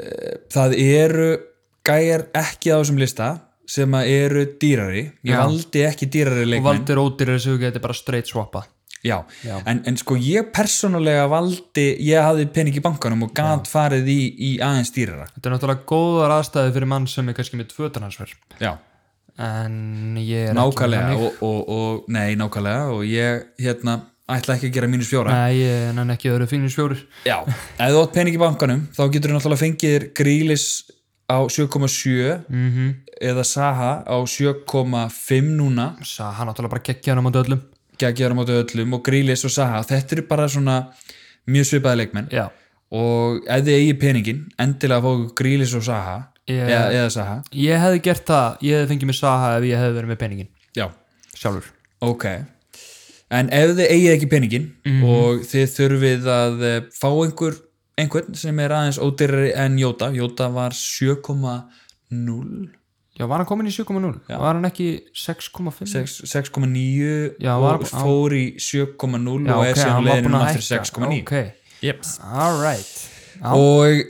A: það eru gæjar ekki á þessum lista sem að eru dýrari ég
B: Já.
A: valdi ekki dýrari
B: Og
A: leikmenn
B: valdir ódýrari sem þú getur bara straight swappa
A: já.
B: Já.
A: En, en sko ég persónulega valdi ég hafði pening í bankanum og gat farið í, í aðeins dýrara
B: Þetta er náttúrulega góðar aðstæði fyrir mann sem er kannski með tvötanansverð
A: já,
B: En ég er
A: nákvæmlega
B: ekki þannig.
A: og, og, og, nei, nákvæmlega og ég hérna ætla ekki að gera mínus fjóra
B: Nei, ég er nann ekki öðru fínir svjórir
A: Já, ef þú átt pening í bankanum þá getur þú náttúrulega fengið þér grílis á 7,7 -hmm. eða Saha á 7,5 núna
B: Sa, hann áttúrulega bara kekkja hann á móti öllum
A: geggjaður á móti öllum og Grílis og Saha þetta eru bara svona mjög svipaði leikmenn
B: Já,
A: og ef þið eigi peningin endilega fá ykkur Grílis og Saha
B: Ég-
A: eða, eða Saha
B: ég hefði gert það Ég hefði fengið mér Saha ef ég hefði verið með peningin
A: já,
B: Sjálfur
A: ok en ef þið eigið ekki peningin
B: Mhm.
A: og þið þurfið að eh, fá einhver einhvern sem er aðeins ódýrari en Jóta Jóta var 7,0
B: Já, var hann komin í 7.0? Var hann ekki 6.5?
A: 6- 6,9
B: Já, var-
A: og fór í 7,0
B: Já,
A: og er
B: ok,
A: okay, síðan
B: hann var
A: leiðin
B: búinn að
A: núna aftur
B: hækka.
A: 6,9
B: Ok,
A: yep.
B: alright
A: og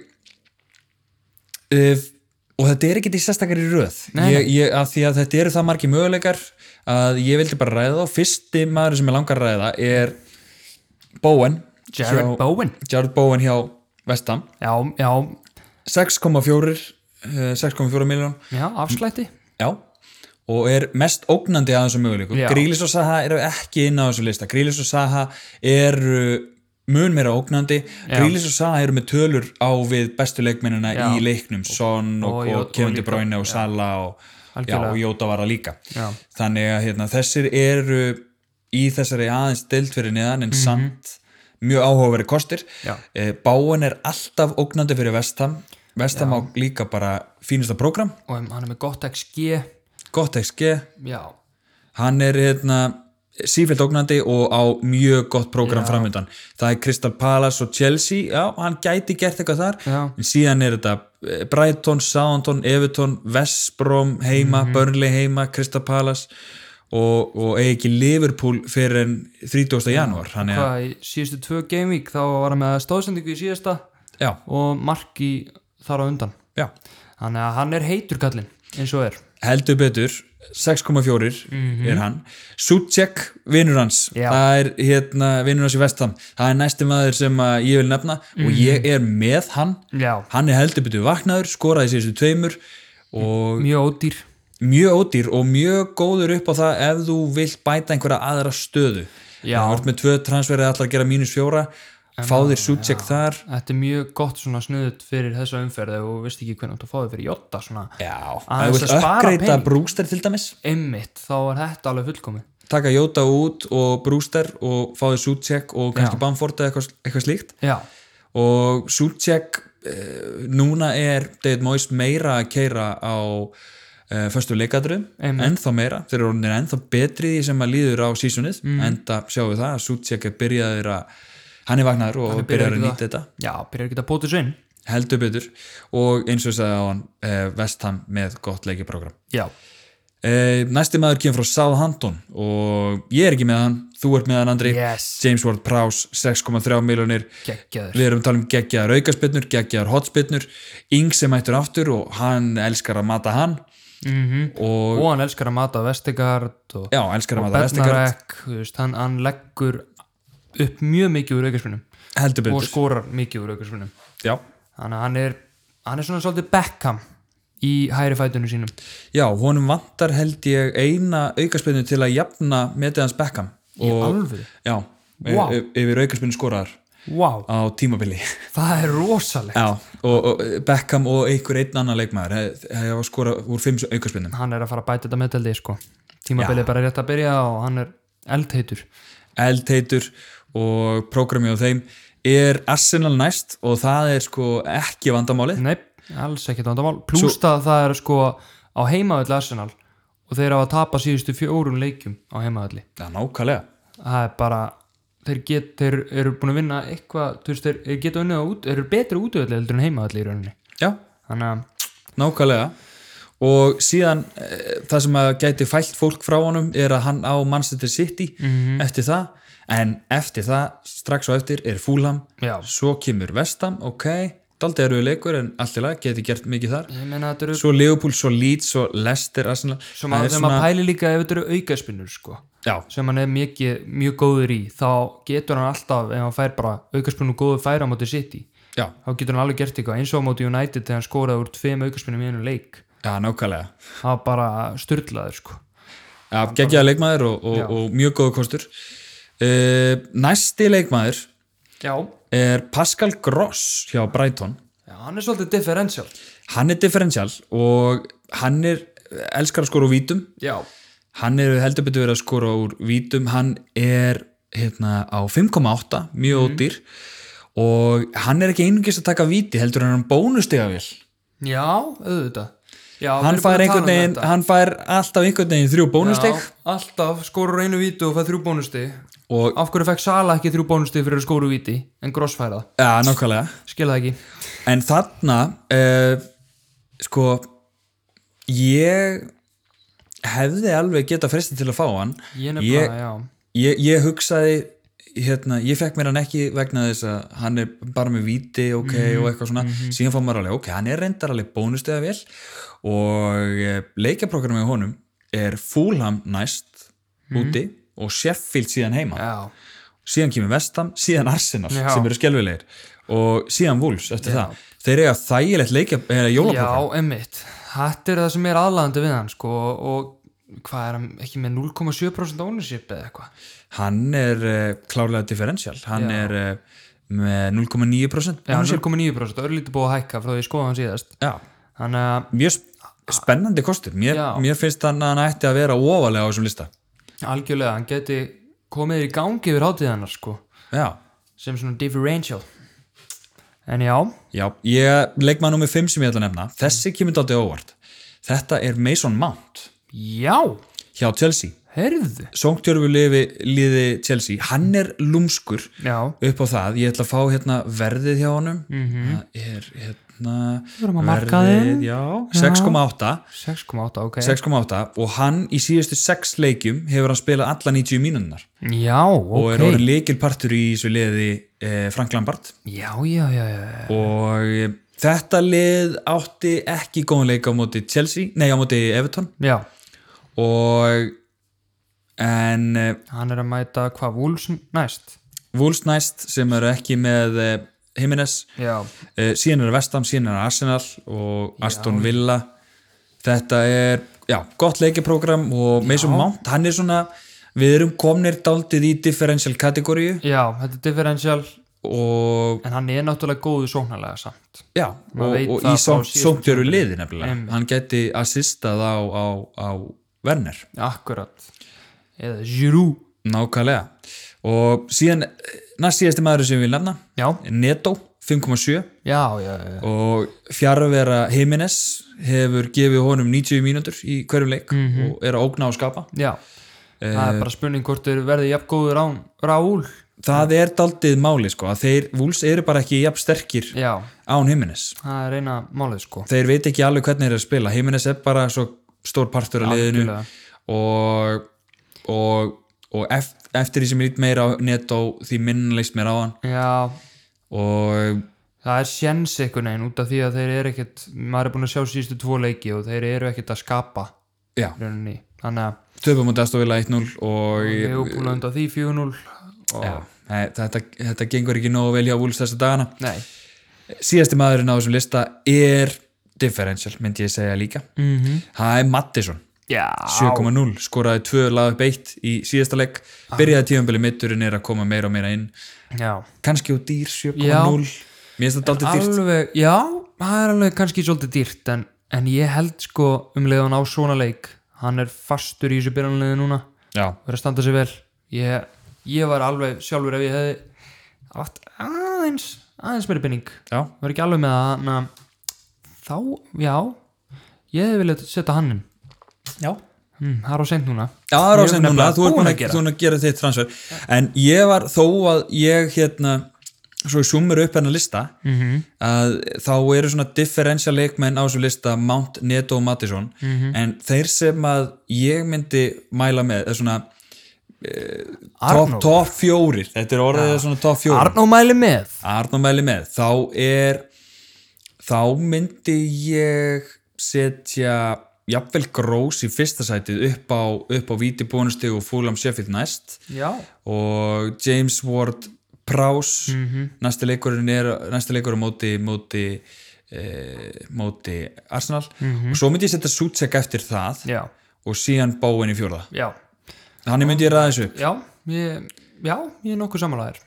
A: uh, og þetta er ekki í sérstakari röð
B: Nei,
A: ég, ég, að því að þetta eru það margi möguleikar að ég vildi bara ræða og fyrsti maður sem ég langar að ræða er Bowen
B: Jared
A: hjá,
B: Bowen
A: Jared Bowen hjá Vestam
B: Já, já,
A: 6,4 eh, 6,4 miljón
B: já, afslætti
A: já og er mest ógnandi að þessum möguleikum
B: Já.
A: Grílis og Saha eru ekki inn á þessu lista Grílis og Saha eru mun meira ógnandi Grílis og Saha eru með tölur á við bestu leikmennina
B: Já.
A: í leiknum Son og,
B: og
A: og,
B: Jó-
A: og Kevin
B: og
A: De
B: líka-
A: Bruyne og Sala og, já,
B: Algjörlega.
A: og Jóta var að líka
B: Já.
A: þannig að hérna, þessir eru í þessari aðeins deilt fyrir neðan en samt mjög áhugaveri kostir
B: Mhm. Já.
A: Eh, Báin er alltaf ógnandi fyrir Vestham Vestham á líka bara fínasta prógram
B: Og um, hann er með gott XG
A: gott XG
B: Já,
A: hann er hérna sífælt ógnandi og á mjög gott prógram framöndan. Það er Crystal Palace og Chelsea, já, hann gæti gert eitthvað þar,
B: Já.
A: en síðan er þetta eh, Brighton, Southampton, Everton Vestbrom heima,
B: Mhm.
A: Burnley heima Crystal Palace og, og eigi ekki Liverpool fyrir en 30. janúar, hann er
B: hvað í síðustu tvö gameweek þá var hann með stóðsendingu í síðasta
A: já,
B: og marki þar á undan
A: já,
B: Þannig að hann er heitur kallinn, eins og er
A: heldur betur 6,4 er hann Suchek, vinnur hans
B: Mhm. Já.
A: það er hérna, vinnur hans í vestam það er næsti maður sem að ég vil nefna og ég er með hann
B: Mhm. Já,
A: hann er heldur betur vaknaður, skoraði síðustu tveimur og
B: mjög ódýr
A: mjög ódýr og mjög góður upp á það ef þú vilt bæta einhverja aðra stöðu
B: Já.
A: það vart með tvö transferið allar að gera mínus fjóra fá þér Suchek þar
B: Þetta er mjög gott svona snuðut fyrir þessa umferð ef þú veist ekki hvernig þú átt að fá þig fyrir jotta svona
A: Já,
B: Aðeins
A: ef þú vilt
B: að spara
A: uppgreita
B: pening.
A: brúster til dæmis
B: einmitt, þá er þetta alveg fullkomið
A: taka Jóta út og Brewster og fáði Suchek og kannski Bamford eða eitthvað, eitthvað slíkt
B: Já,
A: og Suchek eh, núna er David Moyes meira að keira á uh, föstu leikadröðum,
B: Einmitt.
A: ennþá meira þeir eru orðinir ennþá betri í því sem að líður á sísunnið,
B: Mhm.
A: enda sjáum við það að Sútsjek er byrjaðir að, hann er vagnar og
B: er byrjaður
A: byrjaðir að
B: í
A: nýta þetta
B: já, byrjar ekki að bóta þessu inn
A: heldur betur og eins og sagði á hann uh, Vestham með gott leikiprogram
B: já,
A: uh, næsti maður kemur frá Southampton og ég er ekki með hann, þú ert með hann Andri
B: Yes.
A: James Ward-Prowse 6,3 miljonir
B: geggjaður
A: Við erum að tala um geggjaðar aukaspirnur, geggjaðar hotspirnur, Ing sem hættur aftur og hann elskar að mata hann
B: mm
A: og
B: og hann elskar að mata Vestegard og,
A: já, elskar að
B: og
A: mata Vestegard,
B: Bednarek þú veist, hann, hann leggur upp mjög mikið úr aukarspunum
A: heldur
B: og sko-
A: betur.
B: skorar mikið úr aukarspunum
A: Já.
B: þannig að hann er, hann er svona svolítið Beckham í hæri fætunum sínum
A: já, honum vantar held ég eina aukaspirnu til að jafna metið hans Beckham
B: í
A: og
B: alveg,
A: já,
B: Vá.
A: y- yfir aukaspirnu skoraðar
B: wow,
A: á tímabili.
B: það er rosalegt
A: Já, og, og Beckham og einhver einn annan leikmaður eh, hefði hef að skora úr fimm aukaspinnum
B: hann er að fara að bæta þetta meðdeldi sko. tímabilið er bara rétt að byrja og hann er eldheitur
A: eldheitur og prógrami á þeim er Arsenal næst og það er sko ekki vandamálið
B: Nei, alls ekkert vandamál Plúst að það er sko á heimaðalli Arsenal og þeir hafa að tapa síðustu fjórum leikjum á heimaðalli
A: Já, nákvæmlega
B: Það er bara þeir, get, þeir eru búin að vinna eitthvað þú veist, þeir, þeir geta unnið á út þeir eru betri útöðalli heldur en heimaðalli í rauninni
A: Já,
B: Þannig að,
A: nákvæmlega og síðan e, það sem að gæti fælt fólk frá honum er að hann á Manchester City eftir það en eftir það, strax og eftir er Fulham,
B: já
A: svo kemur Vestam, ok, daldið eru leikur en allirlega geti gert mikið þar
B: Ég meina þetta eru
A: svo Leopold, svo Leeds, svo Leicester Arsenal
B: sem að
A: Það er
B: þegar maður pæli líka ef þetta eru aukaspinnur sko
A: já,
B: sem hann er mikið, mjög góður í þá getur hann alltaf ef hann fær bara aukaspinn og góður færa á móti City
A: já,
B: þá getur hann alveg gert eitthvað eins og á móti United þegar hann skoraði úr tveim aukaspinnum í einu leik
A: já, nákvæmlega
B: það var bara styrlaður sko
A: já, geggjaða leikmaður og,
B: Já.
A: og, og mjög góðu kostur uh, næsti leikmaður
B: já.
A: er Pascal Gross hjá Brighton
B: hann er svolítið differential
A: hann er differential og hann er elskar að skora úr vítum
B: já,
A: hann er heldur betur verið að skora úr vítum hann er hérna á 5,8
B: Mhm.
A: mjög ódýr og hann er ekki einungis að taka víti heldur en hann bónustega vel
B: já, auðvitað já, við
A: hann
B: erum búin
A: fær,
B: að
A: einhvern
B: tala um
A: veginn,
B: þetta.
A: hann fær alltaf einhvern veginn þrjú bónusteg
B: já, alltaf skorur einu víti og fær þrjú bónusti
A: og
B: af hverju fekk Sala ekki þrjú bónusti fyrir að skóru víti en Gross fær það,
A: já, nákvæmlega
B: skil það ekki
A: en þarna uh, sko ég hefði alveg geta fresti til að fá hann
B: ég
A: Ég-
B: nefnilega,
A: ég, ég hugsaði hérna, ég fekk mér hann ekki vegna þess að hann er bara með víti ok
B: Mhm,
A: og eitthvað svona, síðan fá maður alveg ok, hann er reyndar alveg bónustega vel og leikjaprogrammi á honum er Fulham næst
B: Mhm.
A: úti og Sheffield síðan heima
B: já, já,
A: síðan kemur Vestam, síðan Arsenal
B: Já.
A: sem eru skelvilegir og síðan Wolves eftir það, þeir eiga þægilegt eh, leikja eða jólapokar,
B: já, emmitt þetta er það sem er aðlaðandi við hann sko og hvað er hann, ekki með 0,7% ownership eða eitthvað
A: hann er uh, klárlega differential, hann
B: Já.
A: er uh, með 0,9%
B: já,
A: ownership.
B: 0,9% örlítið búið að hækka frá því ég skoða hann síðast
A: já,
B: þannig að
A: mjög sp- spennandi kostur mér,
B: Já.
A: mér finnst hann að hann ætti að vera ofalega á þessum lista
B: Algjörlega, hann geti komið í gangi yfir hátíðanar sko
A: já,
B: sem svona differential En já,
A: já, ég legg maður nummer 5 sem ég ætla að nefna, þessi kemur dálítið óvart þetta er Mason Mount
B: já,
A: hjá Chelsea,
B: herðu
A: sóngtjörfu liði, liði Chelsea, hann er lúmskur
B: Já,
A: upp á það, ég ætla að fá hérna verðið hjá honum það er hérna
B: Mhm. erum að marka þeim.
A: já, 6,8
B: 6,8 ok
A: 6,8 og hann í síðustu 6 leikjum hefur hann spilað alla 90 mínunnar
B: Já,
A: og
B: ok
A: er orðin leikilpartur í þessu liði eh, Frank Lampard
B: Já, já, já, já
A: og eh, þetta lið átti ekki góðan leik á móti Chelsea, nei á móti Everton
B: Já,
A: og en eh,
B: hann er að mæta hvað Wolves næst
A: Wolves næst sem eru ekki með eh, Jimenez
B: Já,
A: Eh, síðan er Vestam, síðan er Arsenal og Aston Villa þetta er, já, gott leikiprógram og Mason Mount, hann er svona við erum komnir daldið í differential kategóriu
B: já, þetta er differential
A: og
B: en hann er náttúrulega góðu sóknarlega samt
A: já,
B: Maður
A: og,
B: veit
A: og
B: það
A: í
B: frá síðasta
A: sóngtjöru
B: tímabili.
A: liði nefnilega,
B: Einmitt.
A: hann gæti assistað á, á, á Werner,
B: Akkurat Eða Giroud
A: nákvæmlega og síðan, eh, næst síðasti maður sem ég vil nefna
B: Já,
A: Neto 5,7
B: já, já, já
A: og fjárvera Jimenez hefur gefið honum 90 mínútur í hverjum leik og er að ógna og skapa
B: Já, það er bara spurning hvort þeir verði jafn góður án Raúl
A: það er daldið máli sko að þeir vúls eru bara ekki jafn sterkir
B: Já,
A: án Jimenez
B: það er eina málið sko
A: þeir veit ekki alveg hvernig þeir eru að spila Jimenez er bara svo stór partur af liðinu
B: Algjörlega.
A: og og, og eft, eftir því sem ég lít meira á netto því minn leist mér á hann
B: Já,
A: og
B: það er sjens einhvern veginn út af því að þeir eru ekkert maður er búin að sjá síðustu tvo leiki og þeir eru ekkert að skapa
A: já,
B: í rauninni. þannig að
A: töpum á Dastovila 1-0 og
B: við erum búin að undan því 4-0 og
A: já, nei, þetta, þetta gengur ekki nógu vel hjá vúls þessa dagana
B: nei,
A: síðasti maðurinn á þessum lista er differential, myndi ég segja líka
B: Mhm.
A: það er Mattisson
B: já
A: 7.0, skoraði tvö lagu beitt í síðasta legg,
B: Ah.
A: byrjaði tíðanbili mitturinn er að koma meira og meira inn
B: já,
A: kannski á dýr 7.0
B: Já.
A: mér finnst þetta aldrei dýrt
B: alveg, já, það er alveg kannski svolítið dýrt en, en ég held sko um leiðan á svona leik hann er fastur í þessu byrjanliði núna
A: já,
B: verið að standa sig vel ég, ég var alveg sjálfur ef ég hefði átt aðeins aðeins meiri pinning
A: já,
B: var ekki alveg með það na, þá, já ég hefði viljað setja hann inn
A: já
B: hm, það er á seint núna
A: Já, það er
B: Ég
A: á sem núna,
B: nefnilega
A: þú ert
B: búinn
A: búin
B: að
A: að,
B: gera.
A: búin að gera þitt transfer en ég var þó að ég hérna, svo ég sumur upp hennar lista
B: Mhm.
A: að þá eru svona differential leikmenn á þessu lista Mount, Neto og Mattisson
B: Mhm.
A: en þeir sem að ég myndi mæla með, það er svona top,
B: Arnó,
A: top fjórir, þetta er orðið svona top fjórir
B: Arnó mæli með
A: Arnó mæli með, þá er þá myndi ég setja jafnvel grós í fyrsta sætið upp á, upp á víti bónustig og fúlam Sheffield næst
B: já,
A: og James Ward Prowse, næsti leikurinn er næsti leikurinn móti móti, e, móti Arsenal og svo myndi ég setja Suchek eftir það
B: já,
A: og síðan Bowen í fjórða
B: já
A: þannig myndi ég ræða þessu upp
B: já, ég, já, ég er nokkuð samanlæður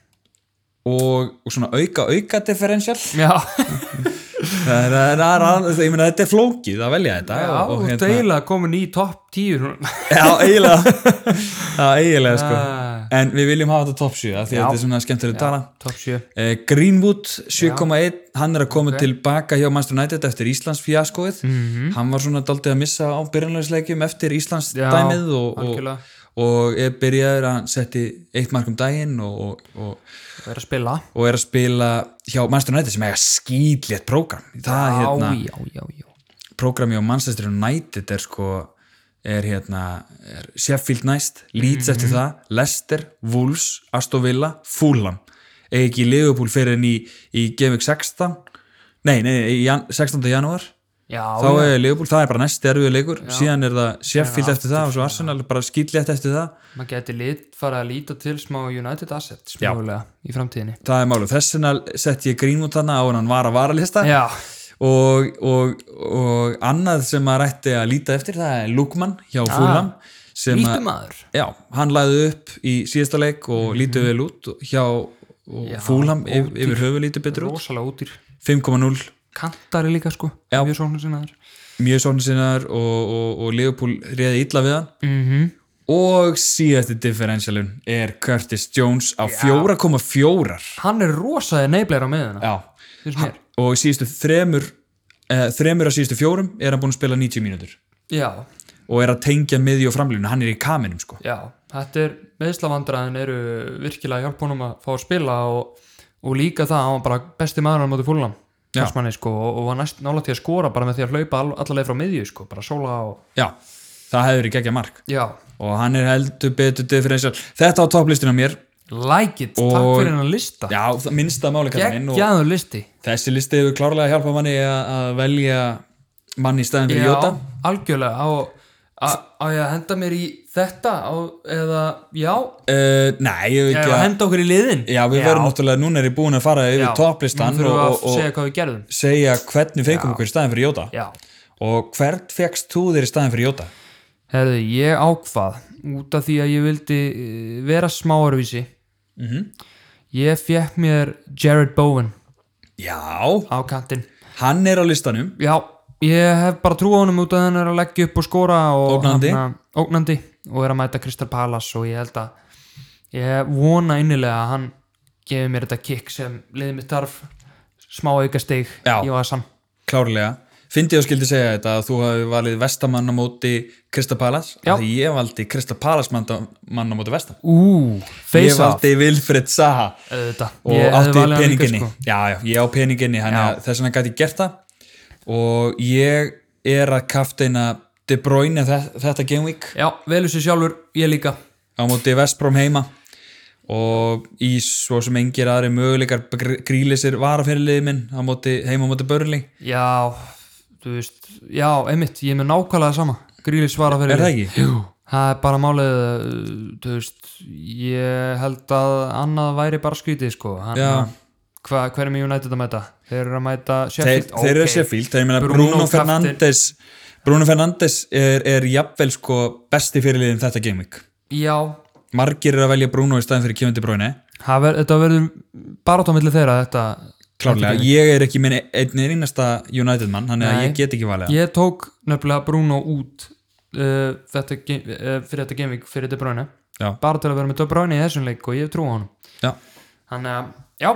A: og, og svona auka auka differential
B: já,
A: það er, það er, það er, ég meina þetta er flókið að velja þetta
B: já,
A: og,
B: og
A: og
B: þetta
A: hérna,
B: eiginlega komin í topp 10 núna.
A: já,
B: *laughs*
A: eiginlega já, eiginlega sko
B: Ah.
A: en við viljum hafa þetta top 7 af því að
B: Já.
A: þetta er svona skemmtileg tala
B: topp 7
A: eh, Greenwood 7.1 hann er að koma tilbaka hjá Manchester United eftir Íslands fjaskoið
B: Mhm.
A: hann var svona daldið að missa á byrjanlegsleikjum eftir Íslands
B: Já,
A: dæmið og,
B: algjörlega.
A: og, og er byrjaður að setti eitt mark um daginn og, og, og
B: verið að spila
A: og er að spila hjá Manchester United sem eiga skýtlétt prógram það
B: já,
A: hérna
B: já, já, já
A: prógrami á Manchester United er sko er hérna er Sheffield næst, Leeds eftir
B: Mhm.
A: það Leicester, Wolves, Aston Villa Fulham, eða ekki Liverpool fyrir enn í, í Gaming 16 nei, nei, í jan, 16. janúar
B: já,
A: þá
B: já.
A: er Liverpool, það er bara næst erfið leikur, síðan er það Sheffield eftir það og svo Arsenal bara skýtlegt eftir það
B: maður geti lit, fara að líta til smá United Assets
A: Já.
B: mögulega í framtíðinni
A: það er málum, þess vegna sett ég Greenwood þarna á hann var að varalista
B: já,
A: og, og, og annað sem maður ætti að líta eftir það er Lukman hjá
B: Ah.
A: Fulham sem að-
B: lítum aður
A: Já, hann lagði upp í síðasta leik og lítið vel út hjá fúlam yfir, yfir höfu lítið betur út
B: rosalega útir,
A: 5,0
B: kantari líka sko
A: Já.
B: mjög svona sinna aður
A: mjög sóknarsinnar og, og, og Liverpool reyði illa við hann
B: mm -hmm.
A: og síðasti differentialun er Curtis Jones á 4,4
B: hann er rosalega neybleir á meðina
A: Já,
B: finnst mér
A: og síðustu þremur eh, þremur af síðustu fjórum er hann búinn að spila 90 mínútur
B: já,
A: og er að tengja miði og framlínu, hann er í kaminum sko
B: já, þetta er meðslavandræðin eru virkilega hjálp honum að fá að spila og, og líka það að hann var bara besti maður á móti fúlnam
A: Já.
B: Manni, sko, og, og var næst nála til að skora bara með því að hlaupa all, allaveg frá miðju sko, bara sóla og
A: Já, það hefur í gegja mark
B: já,
A: og hann er heldur betur differential þetta á topplistinu á mér
B: like it, takk
A: Og-
B: fyrir hennar lista
A: Já, það minnsta máli kallar minn og
B: geggjaður listi
A: þessi listi hefur klárlega hjálpað manni að að velja manni í staðin fyrir Jóta
B: Já, algjörlega á, á, á ég að henda mér í þetta á, eða, já
A: uh, Nei, ég hef
B: eða
A: ekki að
B: henda okkur í liðin
A: Já, við verðum náttúrulega, núna er ég búin að fara yfir topplistan
B: og,
A: og,
B: að
A: og, og segja,
B: segja hvað við gerðum
A: hvernig fengum okkur í staðin fyrir Jóta
B: já,
A: og hvert fegst þú þér í staðin fyrir Jóta?
B: herðu, ég ákvað út af því að ég vildi eh, vera smáarvísi
A: Mhm.
B: ég fekk mér Jared Bowen
A: Já,
B: á kantinn
A: hann er á listanum
B: já, ég hef bara trú á honum út að hann er að leggja upp og skora og
A: Ógnandi.
B: hann, ógnandi og er að mæta Kristal Palace og ég held að ég vona innilega að hann gefi mér þetta kick sem liðið mitt þarf smá auka stig
A: Já.
B: í vasan
A: klárlega Fyndi ég að skildi segja þetta að þú hafi valið vestamann á móti Krista Palas
B: Já.
A: því ég valdi Krista Palas mann á mann á móti vestam
B: Ú,
A: Ég
B: face off
A: valdi Vilfred Saha
B: auðvitað.
A: og
B: Ég hefði
A: átti
B: valið hann líka,
A: peninginni
B: sko.
A: já, já, ég á peninginni þannig að þess vegna gæti ég gert það og ég er að kafteina De Bruyne þe- þetta game week
B: Já, velur sér sjálfur, ég líka
A: á móti Vestbrom heima og í svo sem engir aðri möguleikar grílisir varafyrirliði minn á móti, heima á móti Börli
B: Já, þú veist Já, einmitt, ég er með nákvæmlega sama Gríli svara fyrir
A: Er það ekki?
B: Jú, það er bara málið uh, Þú veist, ég held að annað væri bara skrítið sko Hann,
A: Já.
B: hva, Hver er með United að mæta? Þeir eru að mæta
A: þeir,
B: Sheffield
A: þeir eru Sheffield, þeir meina Bruno,
B: Bruno kaftin.
A: Fernandes Bruno Fernandes er, er jafnvel sko besti fyrirliðin þetta gameweek
B: Já,
A: margir eru að velja Bruno í staðin fyrir Kevin De Bruyne
B: það ver, þetta verður bara tómillir þeirra þetta
A: klárlega, ég er ekki minn e- einn einasta United mann, þannig að
B: Nei.
A: ég get ekki valið hann.
B: Ég tók nefnilega Bruno út uh, þetta, ge- uh, fyrir þetta gaming fyrir þetta bráinu
A: Já.
B: bara til að vera með þetta bráinu í þessum leik og ég hef trú á honum
A: Já.
B: Þannig að, já,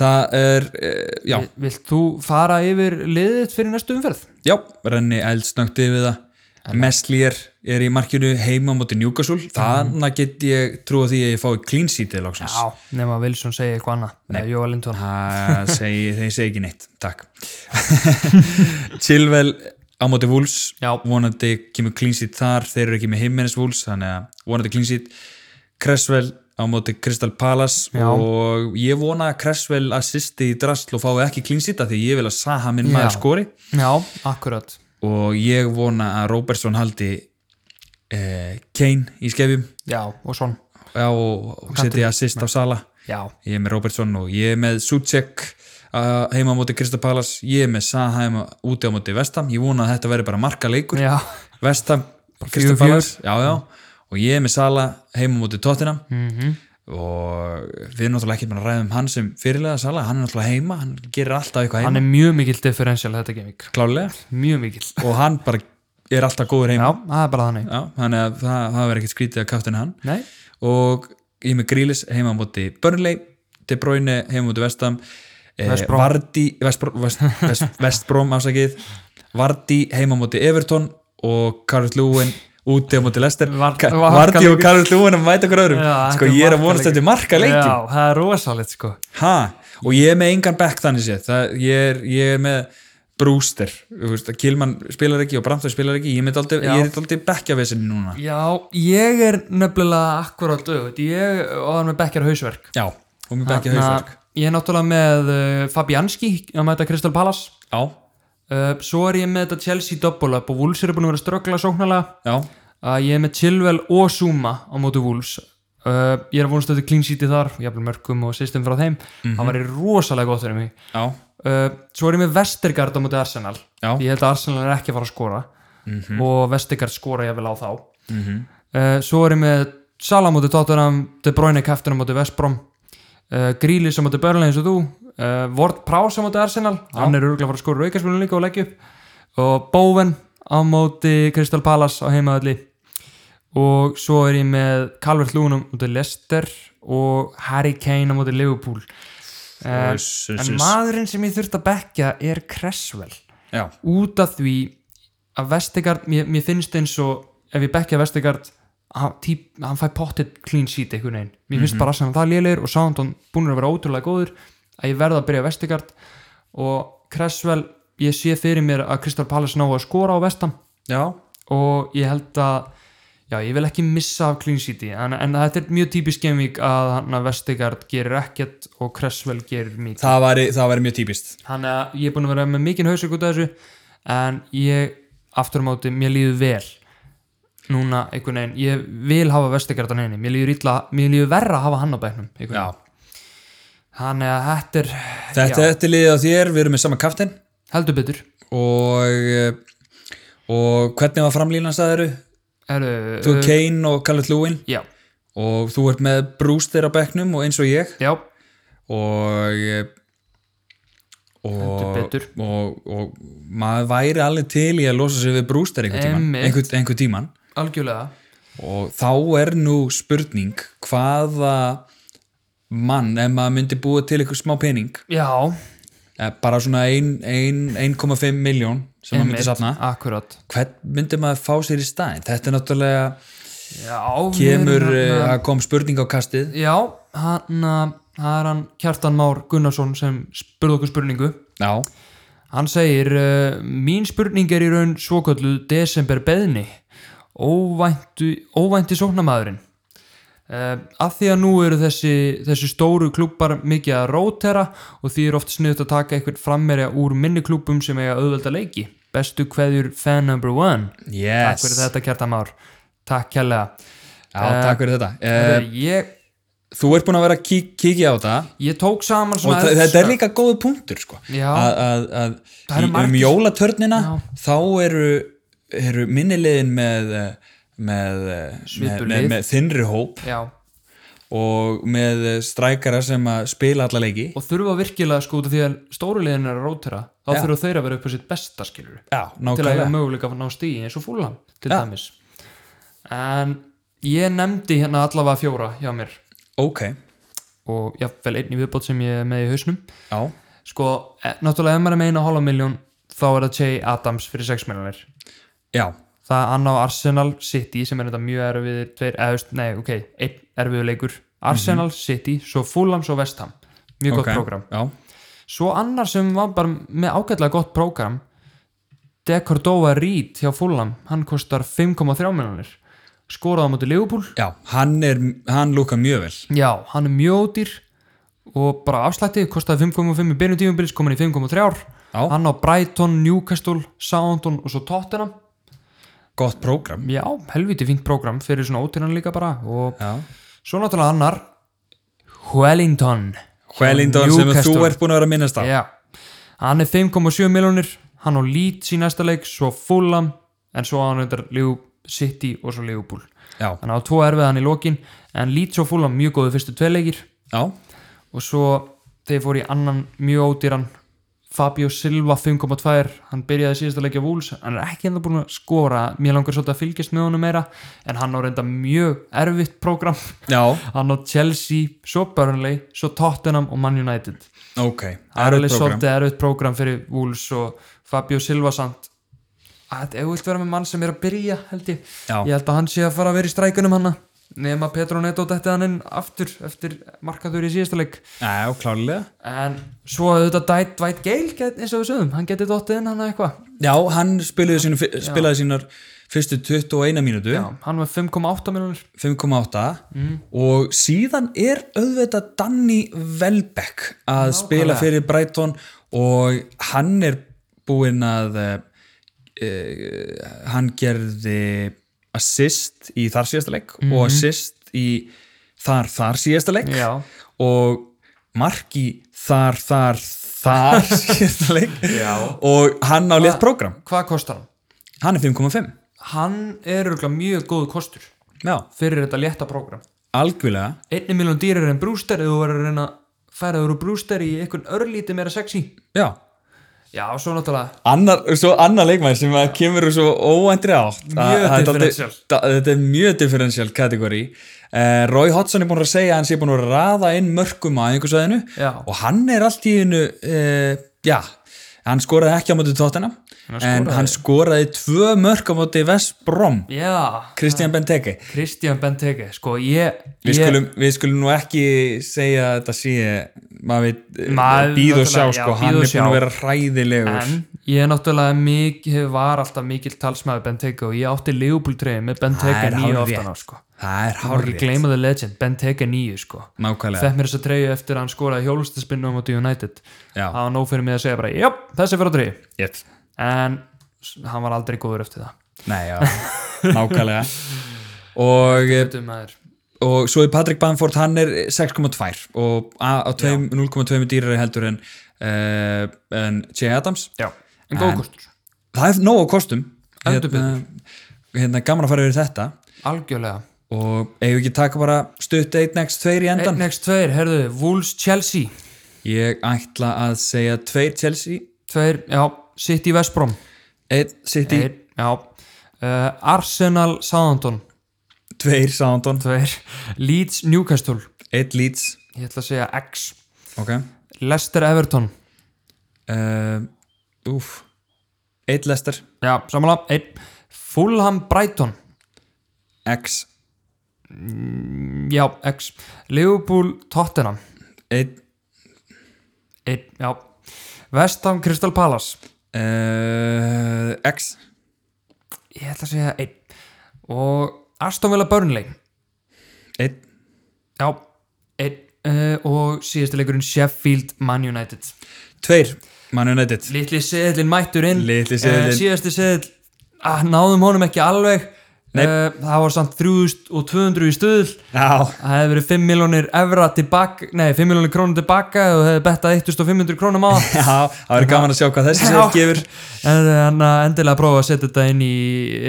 A: það er eh, já,
B: Vi- Vilt þú fara yfir liðið fyrir næstu umferð?
A: já, renni eldsnögt yfir það Messlier er í markinu heima á móti Newcastle, þannig get ég trúa því að ég fái clean seat eða loksins
B: Já, nema Wilson segi eitthvað annað Nei Jóa Lindvall
A: Það segi, þeir segi ekki neitt,
B: *laughs*
A: takk Chilwell á móti Wolves
B: Já.
A: vonandi kemur klínsít þar þeir eru ekki með himmenis Wolves þannig að vonandi klínsít Cresswell á móti Crystal Palace
B: Já.
A: og ég vona að Cresswell assisti í drasl og fái ekki klínsít af því ég vil að Saha minn
B: Já.
A: maður skori
B: Já, akkurat
A: og ég vona að Robertson haldi eh, Kane í skefjum
B: Já, og svon
A: Já, og, og setja assist á Sala
B: Já,
A: ég er með Robertson og ég er með Sucek uh, heima á móti Krista Palas ég er með Saha heima úti á móti Vestam ég vona að þetta verði bara marka leikur
B: já,
A: Vestam, Krista
B: fjögur,
A: Palas já, já. og ég er með Sala heima á móti Tottenham
B: Mhm.
A: og við erum náttúrulega ekki með að ræða um hann sem fyrirlega Sala, hann er náttúrulega heima hann gerir alltaf eitthvað
B: hann
A: heima,
B: er mjög mikill differential þetta gaming
A: klálega
B: Mjög mikill
A: og hann bara er alltaf góður
B: Já,
A: heima
B: það er bara þannig
A: já, þannig að það, það verður ekkert skrítið að kaftin hann
B: Nei,
A: og ég er með Grílis heima á móti Burnley, De Bruyne heima á móti Vestam eh,
B: Westbrom.
A: Vardy Vestbrom, Vest,
B: *laughs*
A: Vest, Vestbrom afsakið Vardy heima á móti Everton og Karl Lúin úti á móti Lester
B: Var-
A: Ka-
B: markaleikur.
A: Vardy og Karl Lúin að mæta okkur öðrum
B: Já,
A: sko
B: þetta er
A: ég er að vonast
B: markaleikur.
A: þetta marka leikin
B: já, það er rosalegt sko
A: ha, og ég er með engan back þannig séð það, ég, er, ég er með Brewster, þú veist, Kilman spilar ekki og Brantfjörn spilar ekki, ég er með dálítið-
B: Já.
A: ég er daldið bekkjavesinni núna
B: Já, ég er nefnilega akkurat auðvitað Ég var með bekkjar hausverk
A: já, og mér bekkja hausverk
B: Þannig að Ég er náttúrulega með uh, Fabianski að mæta Crystal Palace
A: já,
B: uh, Svo er ég með þetta Chelsea double up og Wolves eru búin að vera að ströggla sóknarlega
A: já,
B: að ég er með Chilwell og Zuma á mótu Wolves uh, ég er að vonast eftir clean sheeti þar jafnvel mörgum og system frá þeim það væri rosalega gott fyrir mig
A: já,
B: uh, svo er ég með Vestergaard á móti Arsenal
A: Já.
B: ég held að Arsenal er ekki að fara að skora og Vestergaard skora jafnvel á þá uh, svo er ég með Salah á móti Tottenham De Bruyne kæftin á móti Vestbrom uh, Grílis á móti Börnlein eins og þú uh, Ward Prowse á móti Arsenal hann er örgulega að fara að skora aukarsmunum líka og leggja upp og Bowen á móti Crystal Palace á heimaðalli og svo er ég með Calvert Lúin á móti Leicester og Harry Kane á móti Liverpool uh,
A: Uss, uss,
B: en
A: uss.
B: maðurinn sem ég þurft að bekka er Cresswell
A: já,
B: út af því að Vestegard, mér, mér finnst eins og ef ég bekkja Vestegard hann, típ, hann fæ pottet clean sheet einhvern veginn mér finnst bara að það lélir og Soundon búin að vera ótrúlega góður að ég verða að byrja Vestegard og Cresswell ég sé fyrir mér að Crystal Palace ná að skora á vestan
A: já
B: og ég held að já, ég vil ekki missa af clean sheeti en, en þetta er mjög típisk gaming að, hann að Vestegard gerir ekkert og Cresswell gerir mikið
A: það væri, það væri mjög típist
B: Þannig að ég er búin að vera með mikinn hausök út af þessu en ég aftur á móti, mér líður vel núna einhvern veginn, ég vil hafa vestigartan henni, mér líður, illa, mér líður verra að hafa hann á bæknum einhvern veginn. þannig að þetta er
A: þetta,
B: já,
A: þetta er liðið á þér, við erum með sama kaftin
B: heldur betur
A: og eh, og hvernig var framlínan sagðiru?
B: Heru,
A: Þú Kane og Callum Lewin
B: já,
A: og þú ert með Brewster á bekknum og eins og ég
B: já,
A: og eh,
B: Heldur
A: og,
B: betur.
A: og, og maður væri alveg til í að losa sig við Brewster einhver tíman,
B: Einmitt.
A: einhver, einhver tíman
B: algjörlega
A: og þá er nú spurning hvaða mann ef maður myndi búa til einhver smá pening
B: já,
A: Eh, bara svona ein- ein- 1,5 miljón sem maður myndi safna
B: akkurat
A: hvern myndi maður fá sér í staðin þetta er náttúrulega
B: já,
A: kemur,
B: við
A: eh,
B: erum
A: það kom spurning á kastið
B: já, hann að- það er hann Kjartan Már Gunnarsson sem spurði okkur spurningu
A: já,
B: hann segir uh, mín spurning er í raun svoköllu desember beðni óvæntu, óvænti sóknamaðurinn uh, að því að nú eru þessi, þessi stóru klúpar mikið að rótera og því er oft sniðut að taka eitthvað frammerja úr minni klúpum sem eiga auðvelda leiki bestu kveðjur fan number one takk
A: yes
B: fyrir þetta Kjartamár takk kærlega
A: já, takk fyrir þetta
B: uh,
A: eh,
B: ég,
A: þú ert búin að vera að kík, kíkja á þetta
B: ég tók saman
A: og
B: svona
A: þa-
B: elsta-
A: þetta er líka góðu punktur sko.
B: Já.
A: að, að, að
B: Það eru
A: í, um
B: margir-
A: jólatörnina
B: Já.
A: þá eru, eru minnilegin með eh, með, eh, með,
B: Svipuð
A: með,
B: lið.
A: með þinnri hóp
B: já,
A: og með eh, strækara sem að spila alla leiki
B: og þurfa virkilega sko út af því að stóru liðin er að rótera þá þurfa þeir að vera upp á sitt besta skilur
A: já,
B: til að eiga
A: nákvæmlega
B: möguleika að ná stíi eins og fúlam til
A: Já.
B: dæmis en ég nefndi hérna allavega fjóra hjá mér
A: ok,
B: og jáfnvel einn í viðbót sem ég er með í hausnum
A: já,
B: sko, eh, náttúrulega ef maður er með eina hálfa miljón þá er það Jay Adams fyrir 6 miljonir
A: já
B: það er annar Arsenal City sem er þetta mjög erfiðir tveir, eða, þú veist, nei, ok, einn erfiður leikur Arsenal, City, svo Fulham, svo West Ham mjög
A: Mhm. ok,
B: gott prógram
A: já,
B: svo annar sem var bara með ágætlega gott prógram De Cordova Reed hjá Fulham hann kostar 5,3 miljonir skoraða mútið Liverpool
A: já, hann er hann lúka mjög vel
B: já, hann er mjög ódýr og bara afslætti, kostaði 5,5 í byrjum tímubils, kom hann í 5,3 ár
A: Já.
B: hann á Brighton, Newcastle, Soundon og svo Tottenham
A: gott prógram
B: já, helviti fínt prógram fyrir svona ódýran líka bara og
A: já.
B: svo náttúrulega annar Wellington
A: Hvelindon sem að þú
B: Newcastle.
A: ert búin að vera að minnast á
B: Já, hann er 5,7 miljónir hann á Leeds í næsta leik svo Fulham, en svo á hann reyndar Liv City og svo Liverpool
A: já,
B: hann á tvo erfiðan í lokin en Leeds og Fulham mjög góðu fyrstu tveileikir
A: já,
B: og svo þeir fóru í annan mjög ódýran Fabio Silva 5,2 hann byrjaði síðasta leikja vúls hann er ekki enda búin að skora mér langar svolítið að fylgjast með honum meira en hann á reynda mjög erfitt prógram *laughs*
A: já,
B: hann á Chelsea, svo Burnley svo Tottenham og Man United
A: ok
B: Það er
A: Erfitt
B: alveg
A: prógram.
B: svolítið erfitt prógram fyrir Wolves og Fabio Silva samt að ef þú vilt vera með mann sem er að byrja held ég,
A: Já.
B: ég held að hann sé að fara að vera í strækunum hanna nema Petro Neto dætti hann inn aftur eftir markaður í síðasta leik
A: já, klárlega
B: en svo auðvitað dætt Dwight Gale get, eins og við sögum, hann getið dottið inn hann eitthvað
A: Já, hann spilaði, sínu, spilaði sínar fyrstu 21 mínútu,
B: Já, Mm. hann var 5,8 miljonir
A: 5,8 og síðan er auðvitað Danny Welbeck að spila fyrir Brighton og hann er búinn að uh, hann gerði assist í þar síðasta leik og assist í þar þar síðasta leik
B: Mhm. Já.
A: og marki þar þar
B: *laughs*
A: þar síðasta leik
B: Já.
A: og hann á létt prógram
B: hvað kostar hann?
A: hann er 5,5
B: hann er örugglega mjög góð kostur
A: já,
B: fyrir þetta létta prógram
A: algjörlega
B: einni miljón dýrar en brúster eða þú verður að reyna að færa þér úr brúster í einhvern örlítið meira sexy
A: já,
B: Já, svo náttúrulega
A: annar, svo annar leikmæður sem að kemur úr svo óændri átt að-
B: Mjög
A: að þetta er-
B: differential.
A: da- þetta er mjög differential kategóri uh, Roy Hodgson er búin að segja að hann sé búin að raða inn mörgum að einhversvæðinu
B: Já.
A: og hann er allt í einu uh, já, hann skoraði ekki á móti tóttina en hann skoraði tvö mörg á móti Vest Brom
B: Já,
A: Christian Benteke
B: Kristján Benteke Sko, ég,
A: Við
B: ég
A: skulum, við skulum nú ekki segja að þetta sé maður veit,
B: Maður-
A: býð og sjá
B: náttúrulega, já,
A: sko,
B: bíð
A: hann
B: og
A: er búin
B: sjá.
A: að vera hræðilegur
B: En ég er náttúrulega mikið Var alltaf mikill talsmaður Benteke Og ég átti Leopold-treyði með
A: Það
B: Benteke
A: er
B: nýju
A: hárrétt.
B: aftan á sko
A: það er
B: Má ekki
A: hárið
B: gleyma the legend, Benteke nýju sko
A: nákvæmlega
B: Fekk mér þessa treyju eftir að hann skoraði hjólustaspinnum á móti United
A: Já.
B: Það var nóg fyrir mig að segja bara, jöp, þessi fyrir að treyju
A: Yes.
B: En s- hann var aldrei góður eftir það
A: Nei, já, nákvæmlega og, eh,
B: Þetta er maður
A: og svo er Patrick Bamford hann er 6,2 og á, á tveim- 0,2 dýrari heldur en uh, en Jay Adams
B: Já, en góð kostur
A: það er nóg á kostum
B: Heldur
A: hérna, gaman að fara yfir þetta
B: Algjörlega
A: og eigum við ekki taka bara stutt 1x2 í endan
B: 1x2, herðu, Wolves Chelsea
A: ég ætla að segja 2 Chelsea
B: Tveir, já, City Vestbrom
A: 1 City,
B: Tveir, já uh, Arsenal Southampton
A: 2 Soundon
B: Tveir, Leeds Newcastle
A: 1 Leeds
B: Ég ætla að segja X
A: ok,
B: Leicester Everton
A: uh, Úf Eitt lestar,
B: Já, samanlega, einn Fulham Brighton,
A: X
B: já, X Liverpool Tottenham,
A: Eitt
B: einn, já Vestam Crystal Palace
A: uh, X
B: ég ætla að segja einn og Aston Villa Burnley
A: Eitt
B: já, einn uh, og síðasti leikurinn Sheffield Man United
A: Tveir, Man United
B: litli seðlin mættur inn
A: Litli seðillinn.
B: Eh, síðasti seðl ah, náðum honum ekki alveg
A: Nei.
B: Eh, það var samt 3200 í stuðl
A: Já
B: það hefði verið 5 miljónir evra tilbaka, nei 5 miljónir krónum tilbaka og hefði bettað 1500 krónum á það.
A: *laughs* Já, það verður gaman að sjá hvað þessi
B: Já.
A: sér gefur
B: en hann að endilega prófa að setja þetta inn í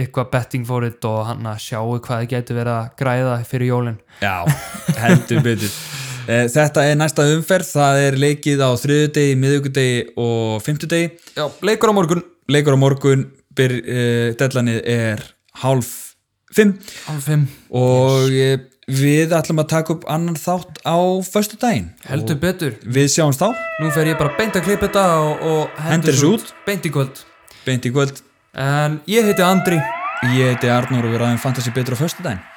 B: eitthvað betting for it og hann að sjáu hvað þið getur verið að græða fyrir jólin
A: Já, heldur betur Eh, Þetta er næsta umferð, það er leikið á þriðudegi, miðugudegi og fymtudegi
B: já, leikur á morgun
A: Leikur á morgun, byr, uh, dellanið er hálf fimm
B: Hálf fimm.
A: og yes. við ætlum að taka upp annan þátt á föstu daginn
B: heldur betur
A: Við sjáumst þá,
B: nú fer ég bara beint að klippa þetta og, og
A: Hendir þessu út.
B: beint í kvöld
A: beint í kvöld
B: en ég heiti Andri
A: Ég heiti Arnur og við ræðum fantasy betur á föstu daginn